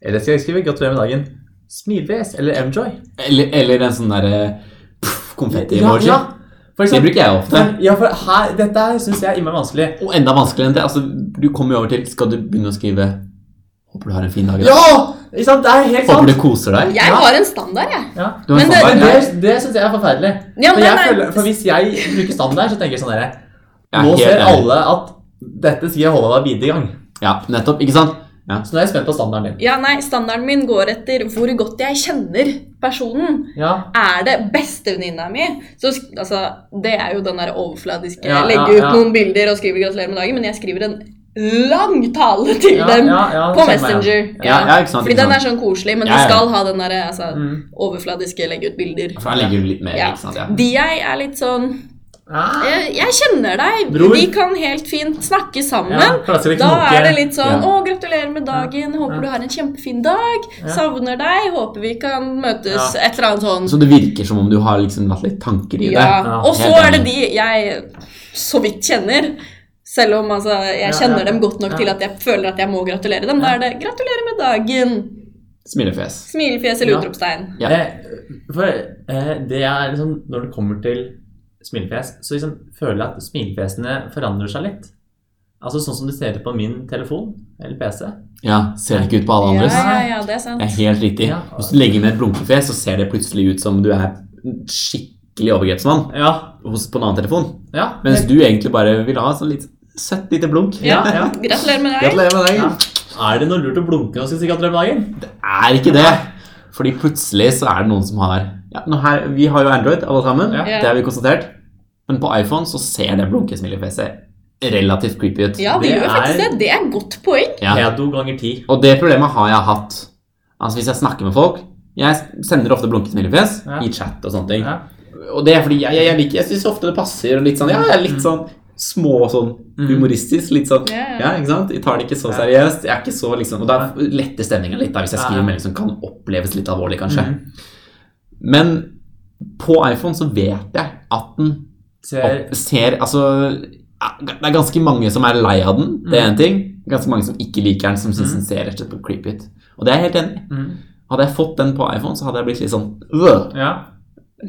[SPEAKER 2] Eller skal jeg skrive 'gratulerer med dagen' smilefjes eller enjoy?
[SPEAKER 1] Eller, eller en sånn derre konfetti-emoji.
[SPEAKER 2] Ja, ja. For
[SPEAKER 1] Det
[SPEAKER 2] eksempel,
[SPEAKER 1] bruker jeg ofte.
[SPEAKER 2] for, ja, for her, dette syns jeg er innmari vanskelig.
[SPEAKER 1] Og enda vanskeligere enn det. Altså, du kommer jo over til Skal du begynne å skrive 'Håper du har en fin dag'? i dag?»
[SPEAKER 2] Ja! Ikke sant? Det er helt sant.
[SPEAKER 1] Håper du koser deg?
[SPEAKER 3] Jeg
[SPEAKER 2] Ja.
[SPEAKER 3] har en standard, jeg.
[SPEAKER 2] Ja.
[SPEAKER 1] Du har en sånn
[SPEAKER 3] Men det-
[SPEAKER 1] standard?
[SPEAKER 2] Det,
[SPEAKER 1] Ja,
[SPEAKER 2] det syns jeg er forferdelig.
[SPEAKER 3] Ja,
[SPEAKER 2] For,
[SPEAKER 3] men
[SPEAKER 2] jeg
[SPEAKER 3] nei,
[SPEAKER 2] føler, for hvis jeg bruker standard, så tenker jeg sånn derre
[SPEAKER 1] jeg er
[SPEAKER 2] Nå
[SPEAKER 1] helt
[SPEAKER 2] ser
[SPEAKER 1] enig.
[SPEAKER 2] alle at dette skal jeg holde deg videre i gang.
[SPEAKER 1] Ja, nettopp. Ikke sant?
[SPEAKER 2] Så nå er jeg spent på standarden din.
[SPEAKER 3] Ja, nei, Standarden min går etter hvor godt jeg kjenner personen.
[SPEAKER 2] Ja,
[SPEAKER 3] Er det bestevenninna mi? Så, sk- altså, det er jo den der overfladiske
[SPEAKER 2] Ja, ja,
[SPEAKER 3] legge ut
[SPEAKER 2] ja.
[SPEAKER 3] noen bilder og skrive 'gratulerer med dagen', men jeg skriver en lang tale til
[SPEAKER 2] ja,
[SPEAKER 3] dem
[SPEAKER 2] ja, ja,
[SPEAKER 3] på
[SPEAKER 2] det skjønner jeg.
[SPEAKER 3] Messenger.
[SPEAKER 1] Ja, ja, ikke sant,
[SPEAKER 3] Fordi
[SPEAKER 1] ikke
[SPEAKER 3] den
[SPEAKER 1] sant.
[SPEAKER 3] er sånn koselig, men
[SPEAKER 1] Ja, ja.
[SPEAKER 3] de skal ha den derre altså,
[SPEAKER 2] Mm.
[SPEAKER 3] overfladiske legge ut bilder.
[SPEAKER 1] For da ligger du litt mer,
[SPEAKER 3] Ja.
[SPEAKER 1] ikke sant? Ja.
[SPEAKER 3] De jeg er litt sånn
[SPEAKER 2] Ah,
[SPEAKER 3] Jeg, jeg kjenner deg.
[SPEAKER 2] Bror.
[SPEAKER 3] Vi kan helt fint snakke sammen.
[SPEAKER 2] ja, plasser i
[SPEAKER 3] Da
[SPEAKER 2] knoke.
[SPEAKER 3] er det litt
[SPEAKER 1] Ja.
[SPEAKER 3] sånn Å, gratulerer med dagen. Håper
[SPEAKER 2] Ja.
[SPEAKER 3] du har en kjempefin dag.
[SPEAKER 2] Ja.
[SPEAKER 3] Savner deg. Håper vi kan møtes.
[SPEAKER 2] Ja.
[SPEAKER 3] Et eller annet sånn.
[SPEAKER 1] Så det virker som om du har liksom hatt litt tanker i
[SPEAKER 3] Ja.
[SPEAKER 1] det.
[SPEAKER 2] Ja,
[SPEAKER 3] Og så
[SPEAKER 1] helt
[SPEAKER 3] er det
[SPEAKER 1] enig.
[SPEAKER 3] de jeg så vidt kjenner. Selv om altså, jeg
[SPEAKER 2] Ja,
[SPEAKER 3] kjenner
[SPEAKER 2] ja.
[SPEAKER 3] dem godt nok
[SPEAKER 2] Ja.
[SPEAKER 3] til at jeg føler at jeg må gratulere dem. Da
[SPEAKER 2] Ja.
[SPEAKER 3] er det 'gratulerer med dagen'.
[SPEAKER 1] Smilefjes.
[SPEAKER 3] Smilefjes eller
[SPEAKER 2] Ja.
[SPEAKER 3] utropstegn.
[SPEAKER 1] Ja.
[SPEAKER 2] Eh, for eh, det er liksom Når det kommer til smilefjes, så liksom føler jeg at smilefjesene forandrer seg litt. Altså sånn som det ser ut på min telefon eller PC.
[SPEAKER 1] Ja, ser det ikke ut på alle
[SPEAKER 3] Ja,
[SPEAKER 1] andres?
[SPEAKER 3] ja, ja, det er sant.
[SPEAKER 1] Det er helt riktig.
[SPEAKER 2] Ja.
[SPEAKER 1] Hvis du legger ned et blunkefjes, så ser det plutselig ut som du er skikkelig overgrepsmann
[SPEAKER 2] Ja.
[SPEAKER 1] hos, på en annen telefon.
[SPEAKER 2] ja
[SPEAKER 1] Mens du egentlig bare vil ha sånn litt søtt lite blunk.
[SPEAKER 3] Ja.
[SPEAKER 2] Ja, ja.
[SPEAKER 3] Gratulerer med deg.
[SPEAKER 1] Gratulerer med
[SPEAKER 2] Ja.
[SPEAKER 1] dagen.
[SPEAKER 2] Er det noe lurt å blunke når man skal si gratulerer med dagen?
[SPEAKER 1] Er ikke det. Fordi plutselig så er det noen som har ja, nå her, Vi har jo Android, alle sammen.
[SPEAKER 2] Ja.
[SPEAKER 1] Det har vi konstatert. Men på iPhone så ser det blunkesmilefjeset relativt creepy ut.
[SPEAKER 3] Ja, det
[SPEAKER 2] Det
[SPEAKER 3] gjør faktisk det.
[SPEAKER 2] er-
[SPEAKER 3] Det er et godt poeng.
[SPEAKER 1] Ja.
[SPEAKER 2] Pedo ganger ti.
[SPEAKER 1] Og det problemet har jeg hatt. Altså Hvis jeg snakker med folk Jeg sender ofte blunkesmilefjes
[SPEAKER 2] Ja.
[SPEAKER 1] i chat og sånne ting.
[SPEAKER 2] Ja.
[SPEAKER 1] Og det er fordi jeg, jeg, jeg liker Jeg syns ofte det passer. og Litt sånn, ja, jeg er litt sånn små sånn
[SPEAKER 2] Mm.
[SPEAKER 1] humoristisk. Litt sånn
[SPEAKER 3] Ja, ja.
[SPEAKER 1] ja, ikke sant? Jeg tar det ikke så
[SPEAKER 2] Ja.
[SPEAKER 1] seriøst. Jeg er ikke så liksom Og da letter stemninga litt da hvis jeg
[SPEAKER 2] Ja, ja.
[SPEAKER 1] skriver en melding som kan oppleves litt alvorlig, kanskje.
[SPEAKER 2] Mhm.
[SPEAKER 1] Men på iPhone så vet jeg at den
[SPEAKER 2] Ser
[SPEAKER 1] opp, ser Altså ja, Det er ganske mange som er lei av den, det
[SPEAKER 2] Mm.
[SPEAKER 1] er én ting. Ganske mange som ikke liker den, som syns den ser rett og slett creepy ut. Og det er jeg helt enig i.
[SPEAKER 2] Mhm.
[SPEAKER 1] Hadde jeg fått den på iPhone, så hadde jeg blitt litt sånn øh,
[SPEAKER 2] Ja.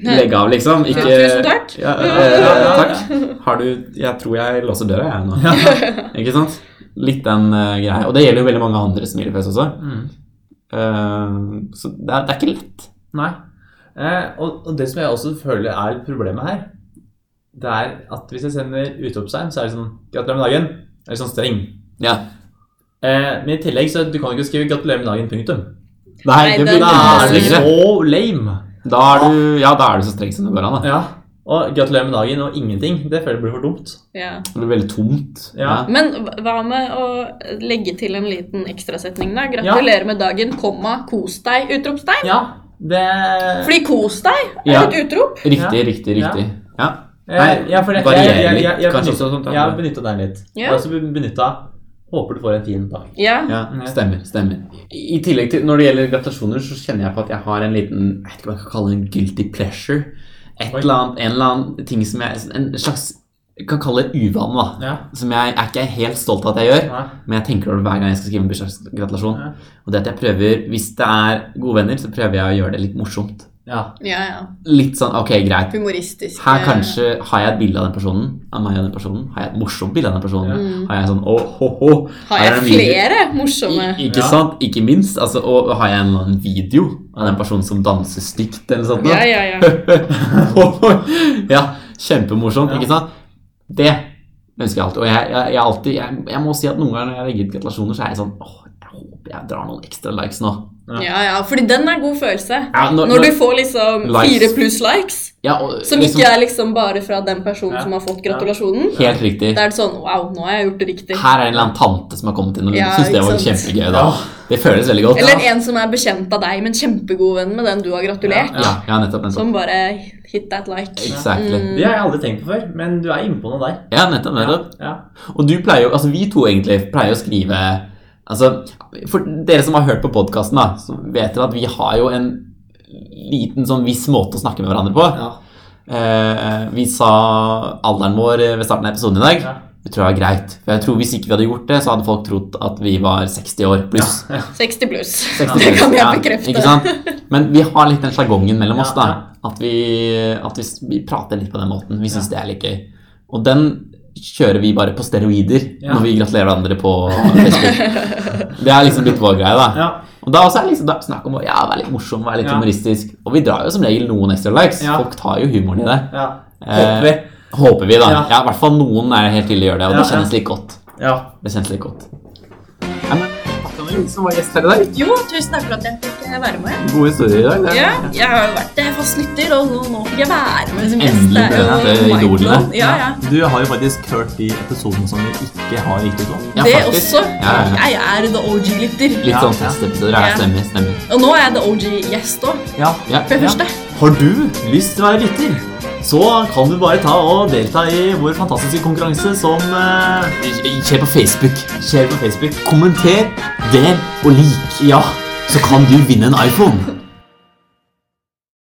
[SPEAKER 1] Legg av, liksom. Ikke
[SPEAKER 3] Tusen takk.
[SPEAKER 1] Ja, eh, ja, takk. Har du Jeg tror jeg låser døra, jeg nå. Ikke sant? Litt den eh, greia. Og det gjelder jo veldig mange andre smilefjes også.
[SPEAKER 2] Mhm.
[SPEAKER 1] Eh, så det er, det er ikke lett.
[SPEAKER 2] Nei. Eh, og, og det som jeg også føler er problemet her, det er at hvis jeg sender utropstegn, så er det sånn 'Gratulerer med dagen'. Eller sånn streng.
[SPEAKER 1] Ja.
[SPEAKER 2] Eh, men i tillegg så du kan jo ikke skrive 'Gratulerer med dagen', punktum.
[SPEAKER 1] Nei,
[SPEAKER 3] Nei,
[SPEAKER 1] Ah, det
[SPEAKER 3] det-
[SPEAKER 1] blir
[SPEAKER 2] Da er du
[SPEAKER 1] vanskeligere.
[SPEAKER 2] så lame.
[SPEAKER 1] Da er du, ja, da er du så streng som det går an. Da.
[SPEAKER 2] Ja. Og 'Gratulerer med dagen' og ingenting. Det føler jeg blir for dumt.
[SPEAKER 3] Ja.
[SPEAKER 1] Det blir veldig tomt.
[SPEAKER 2] Ja.
[SPEAKER 3] Men hva- hva med å legge til en liten ekstrasetning der? Gratulerer med dagen, komma, kos deg, utropstegn.
[SPEAKER 2] Ja, det
[SPEAKER 3] Fordi kos deg er
[SPEAKER 1] Ja.
[SPEAKER 3] et utrop.
[SPEAKER 1] Riktig,
[SPEAKER 2] Ja.
[SPEAKER 1] riktig, riktig. Ja.
[SPEAKER 2] Eh, ja, for det, jeg, jeg,
[SPEAKER 1] varierer
[SPEAKER 2] jeg, jeg,
[SPEAKER 1] litt,
[SPEAKER 2] jeg,
[SPEAKER 1] kanskje
[SPEAKER 2] benyttet-
[SPEAKER 1] også, sånn,
[SPEAKER 2] jeg har benytta den litt.
[SPEAKER 3] Ja.
[SPEAKER 2] Og så benytta Håper du får en fin dag.
[SPEAKER 3] Ja.
[SPEAKER 1] Ja,
[SPEAKER 2] Ja.
[SPEAKER 1] stemmer. stemmer. I tillegg til Når det gjelder gratulasjoner, så kjenner jeg på at jeg har en liten Jeg vet ikke hva jeg kan kalle det, en guilty pleasure. Et
[SPEAKER 2] Oi.
[SPEAKER 1] eller annet, en eller annen ting som jeg En slags jeg kan kalle det uvane, da.
[SPEAKER 2] Ja.
[SPEAKER 1] Som jeg er ikke helt stolt av at jeg gjør,
[SPEAKER 2] Nei.
[SPEAKER 1] men jeg tenker over det hver gang jeg skal skrive en bursdagsgratulasjon.
[SPEAKER 2] Ja.
[SPEAKER 1] Og det at jeg prøver, Hvis det er gode venner, så prøver jeg å gjøre det litt morsomt.
[SPEAKER 2] Ja.
[SPEAKER 3] ja, ja.
[SPEAKER 1] Litt sånn ok, greit.
[SPEAKER 3] Humoristisk.
[SPEAKER 1] Her
[SPEAKER 3] eh,
[SPEAKER 1] kanskje har jeg et bilde av den personen. Av meg og den personen. Har jeg et morsomt bilde av den personen?
[SPEAKER 3] Mm.
[SPEAKER 1] Har jeg sånn åh, ho, ho.
[SPEAKER 3] Har
[SPEAKER 1] er
[SPEAKER 3] jeg
[SPEAKER 1] det mye-
[SPEAKER 3] flere
[SPEAKER 1] I,
[SPEAKER 3] morsomme
[SPEAKER 1] ikke
[SPEAKER 2] Ja.
[SPEAKER 1] sant? Ikke minst. Altså, og har jeg en eller annen video av den personen som danser stygt, eller sånt?
[SPEAKER 3] Ja,
[SPEAKER 1] noe?
[SPEAKER 3] ja, ja.
[SPEAKER 1] ja, kjempemorsomt,
[SPEAKER 2] Ja.
[SPEAKER 1] ikke sant? Det ønsker jeg alltid. Og jeg, jeg, jeg, alltid, jeg, jeg må si at noen ganger når jeg legger ut gratulasjoner, så er jeg sånn åh, jeg håper jeg drar noen ekstra likes nå.
[SPEAKER 3] ja, ja. Fordi den er god følelse.
[SPEAKER 1] Ja, når,
[SPEAKER 3] Når du får liksom
[SPEAKER 1] Likes.
[SPEAKER 3] fire pluss likes,
[SPEAKER 1] ja, og,
[SPEAKER 3] som
[SPEAKER 1] liksom,
[SPEAKER 3] ikke er liksom bare fra den personen
[SPEAKER 2] Ja.
[SPEAKER 3] som har fått
[SPEAKER 2] Ja.
[SPEAKER 3] gratulasjonen,
[SPEAKER 1] Helt riktig.
[SPEAKER 3] da er det sånn Wow, nå har jeg gjort det riktig.
[SPEAKER 1] Her er en eller annen tante som har kommet inn og
[SPEAKER 3] Ja,
[SPEAKER 1] synes det
[SPEAKER 3] ikke
[SPEAKER 1] var
[SPEAKER 3] sant.
[SPEAKER 1] kjempegøy. da. Det føles veldig godt.
[SPEAKER 3] Eller en som er bekjent av deg, men kjempegod venn med den du har gratulert.
[SPEAKER 1] Ja, ja nettopp. nettopp.
[SPEAKER 3] Som Mm. bare hit that like.
[SPEAKER 1] Exactly.
[SPEAKER 2] Det har jeg aldri tenkt på før, men du er inne på noe der.
[SPEAKER 1] Ja, nettopp, nettopp.
[SPEAKER 2] Ja.
[SPEAKER 1] Og du pleier jo, altså vi to egentlig pleier å skrive Altså, for dere som har hørt på podkasten, da, så vet dere at vi har jo en liten sånn viss måte å snakke med hverandre på.
[SPEAKER 2] Ja.
[SPEAKER 1] Eh, vi sa alderen vår ved starten av episoden i dag.
[SPEAKER 2] Ja.
[SPEAKER 1] Det tror jeg er greit. For jeg tror Hvis ikke vi hadde gjort det, så hadde folk trodd at vi var 60 år pluss.
[SPEAKER 3] 60 pluss.
[SPEAKER 1] 60
[SPEAKER 3] Det kan
[SPEAKER 1] pluss,
[SPEAKER 3] jeg
[SPEAKER 1] ja,
[SPEAKER 3] bekrefte.
[SPEAKER 1] Ikke sant? Men vi har litt den sjargongen mellom
[SPEAKER 2] Ja,
[SPEAKER 1] oss, da.
[SPEAKER 2] ja.
[SPEAKER 1] At, vi, at vi, s- vi prater litt på den måten. Vi syns det er litt gøy. Og den kjører vi bare på steroider
[SPEAKER 2] Ja.
[SPEAKER 1] når vi gratulerer hverandre på Facebook. Det er liksom blitt vår greie, da.
[SPEAKER 2] Ja.
[SPEAKER 1] Og da også er det liksom da, er det snakk om å ja, være litt morsom, være litt
[SPEAKER 2] Ja.
[SPEAKER 1] humoristisk. Og vi drar jo som regel noen ekstra likes.
[SPEAKER 2] Ja.
[SPEAKER 1] Folk tar jo humoren i det.
[SPEAKER 2] ja.
[SPEAKER 1] Eh,
[SPEAKER 2] Håper vi.
[SPEAKER 1] Håper vi, da. Ja,
[SPEAKER 2] Ja.
[SPEAKER 1] i hvert fall noen er helt til å gjøre det, og
[SPEAKER 2] Ja,
[SPEAKER 1] det
[SPEAKER 2] ja.
[SPEAKER 1] kjennes litt godt.
[SPEAKER 2] Ja.
[SPEAKER 1] Det kjennes litt godt. Nei, men, takk til alle som var gjest her i dag.
[SPEAKER 3] Jo, tusen takk for at jeg fikk eh, være med.
[SPEAKER 1] Gode historier i dag. det er-
[SPEAKER 3] Ja, jeg har jo vært eh, fast lytter, og nå, nå fikk jeg være med som gjest.
[SPEAKER 1] Endelig
[SPEAKER 3] Det er jo
[SPEAKER 1] møte
[SPEAKER 3] mind blown.
[SPEAKER 1] idolene.
[SPEAKER 3] Ja, ja.
[SPEAKER 2] Du har jo faktisk hørt de episodene som vi ikke har riktig om.
[SPEAKER 1] Ja,
[SPEAKER 3] det
[SPEAKER 1] faktisk.
[SPEAKER 3] også.
[SPEAKER 1] Ja, ja, ja.
[SPEAKER 3] Jeg er the OG-lytter.
[SPEAKER 1] Litt
[SPEAKER 2] Ja,
[SPEAKER 1] sånn
[SPEAKER 2] ja.
[SPEAKER 1] testepisoder. Ja,
[SPEAKER 3] Ja.
[SPEAKER 1] stemmer. stemmer.
[SPEAKER 3] Og nå er jeg the OG-gjest òg,
[SPEAKER 2] Ja.
[SPEAKER 1] Ja.
[SPEAKER 3] for det
[SPEAKER 2] Ja.
[SPEAKER 3] første.
[SPEAKER 2] Har du lyst til å være lytter, så kan du bare ta og delta i vår fantastiske konkurranse som eh,
[SPEAKER 1] Kjør på Facebook.
[SPEAKER 2] skjer på Facebook.
[SPEAKER 1] Kommenter, del og lik.
[SPEAKER 2] Ja.
[SPEAKER 1] Så kan du vinne en iPhone.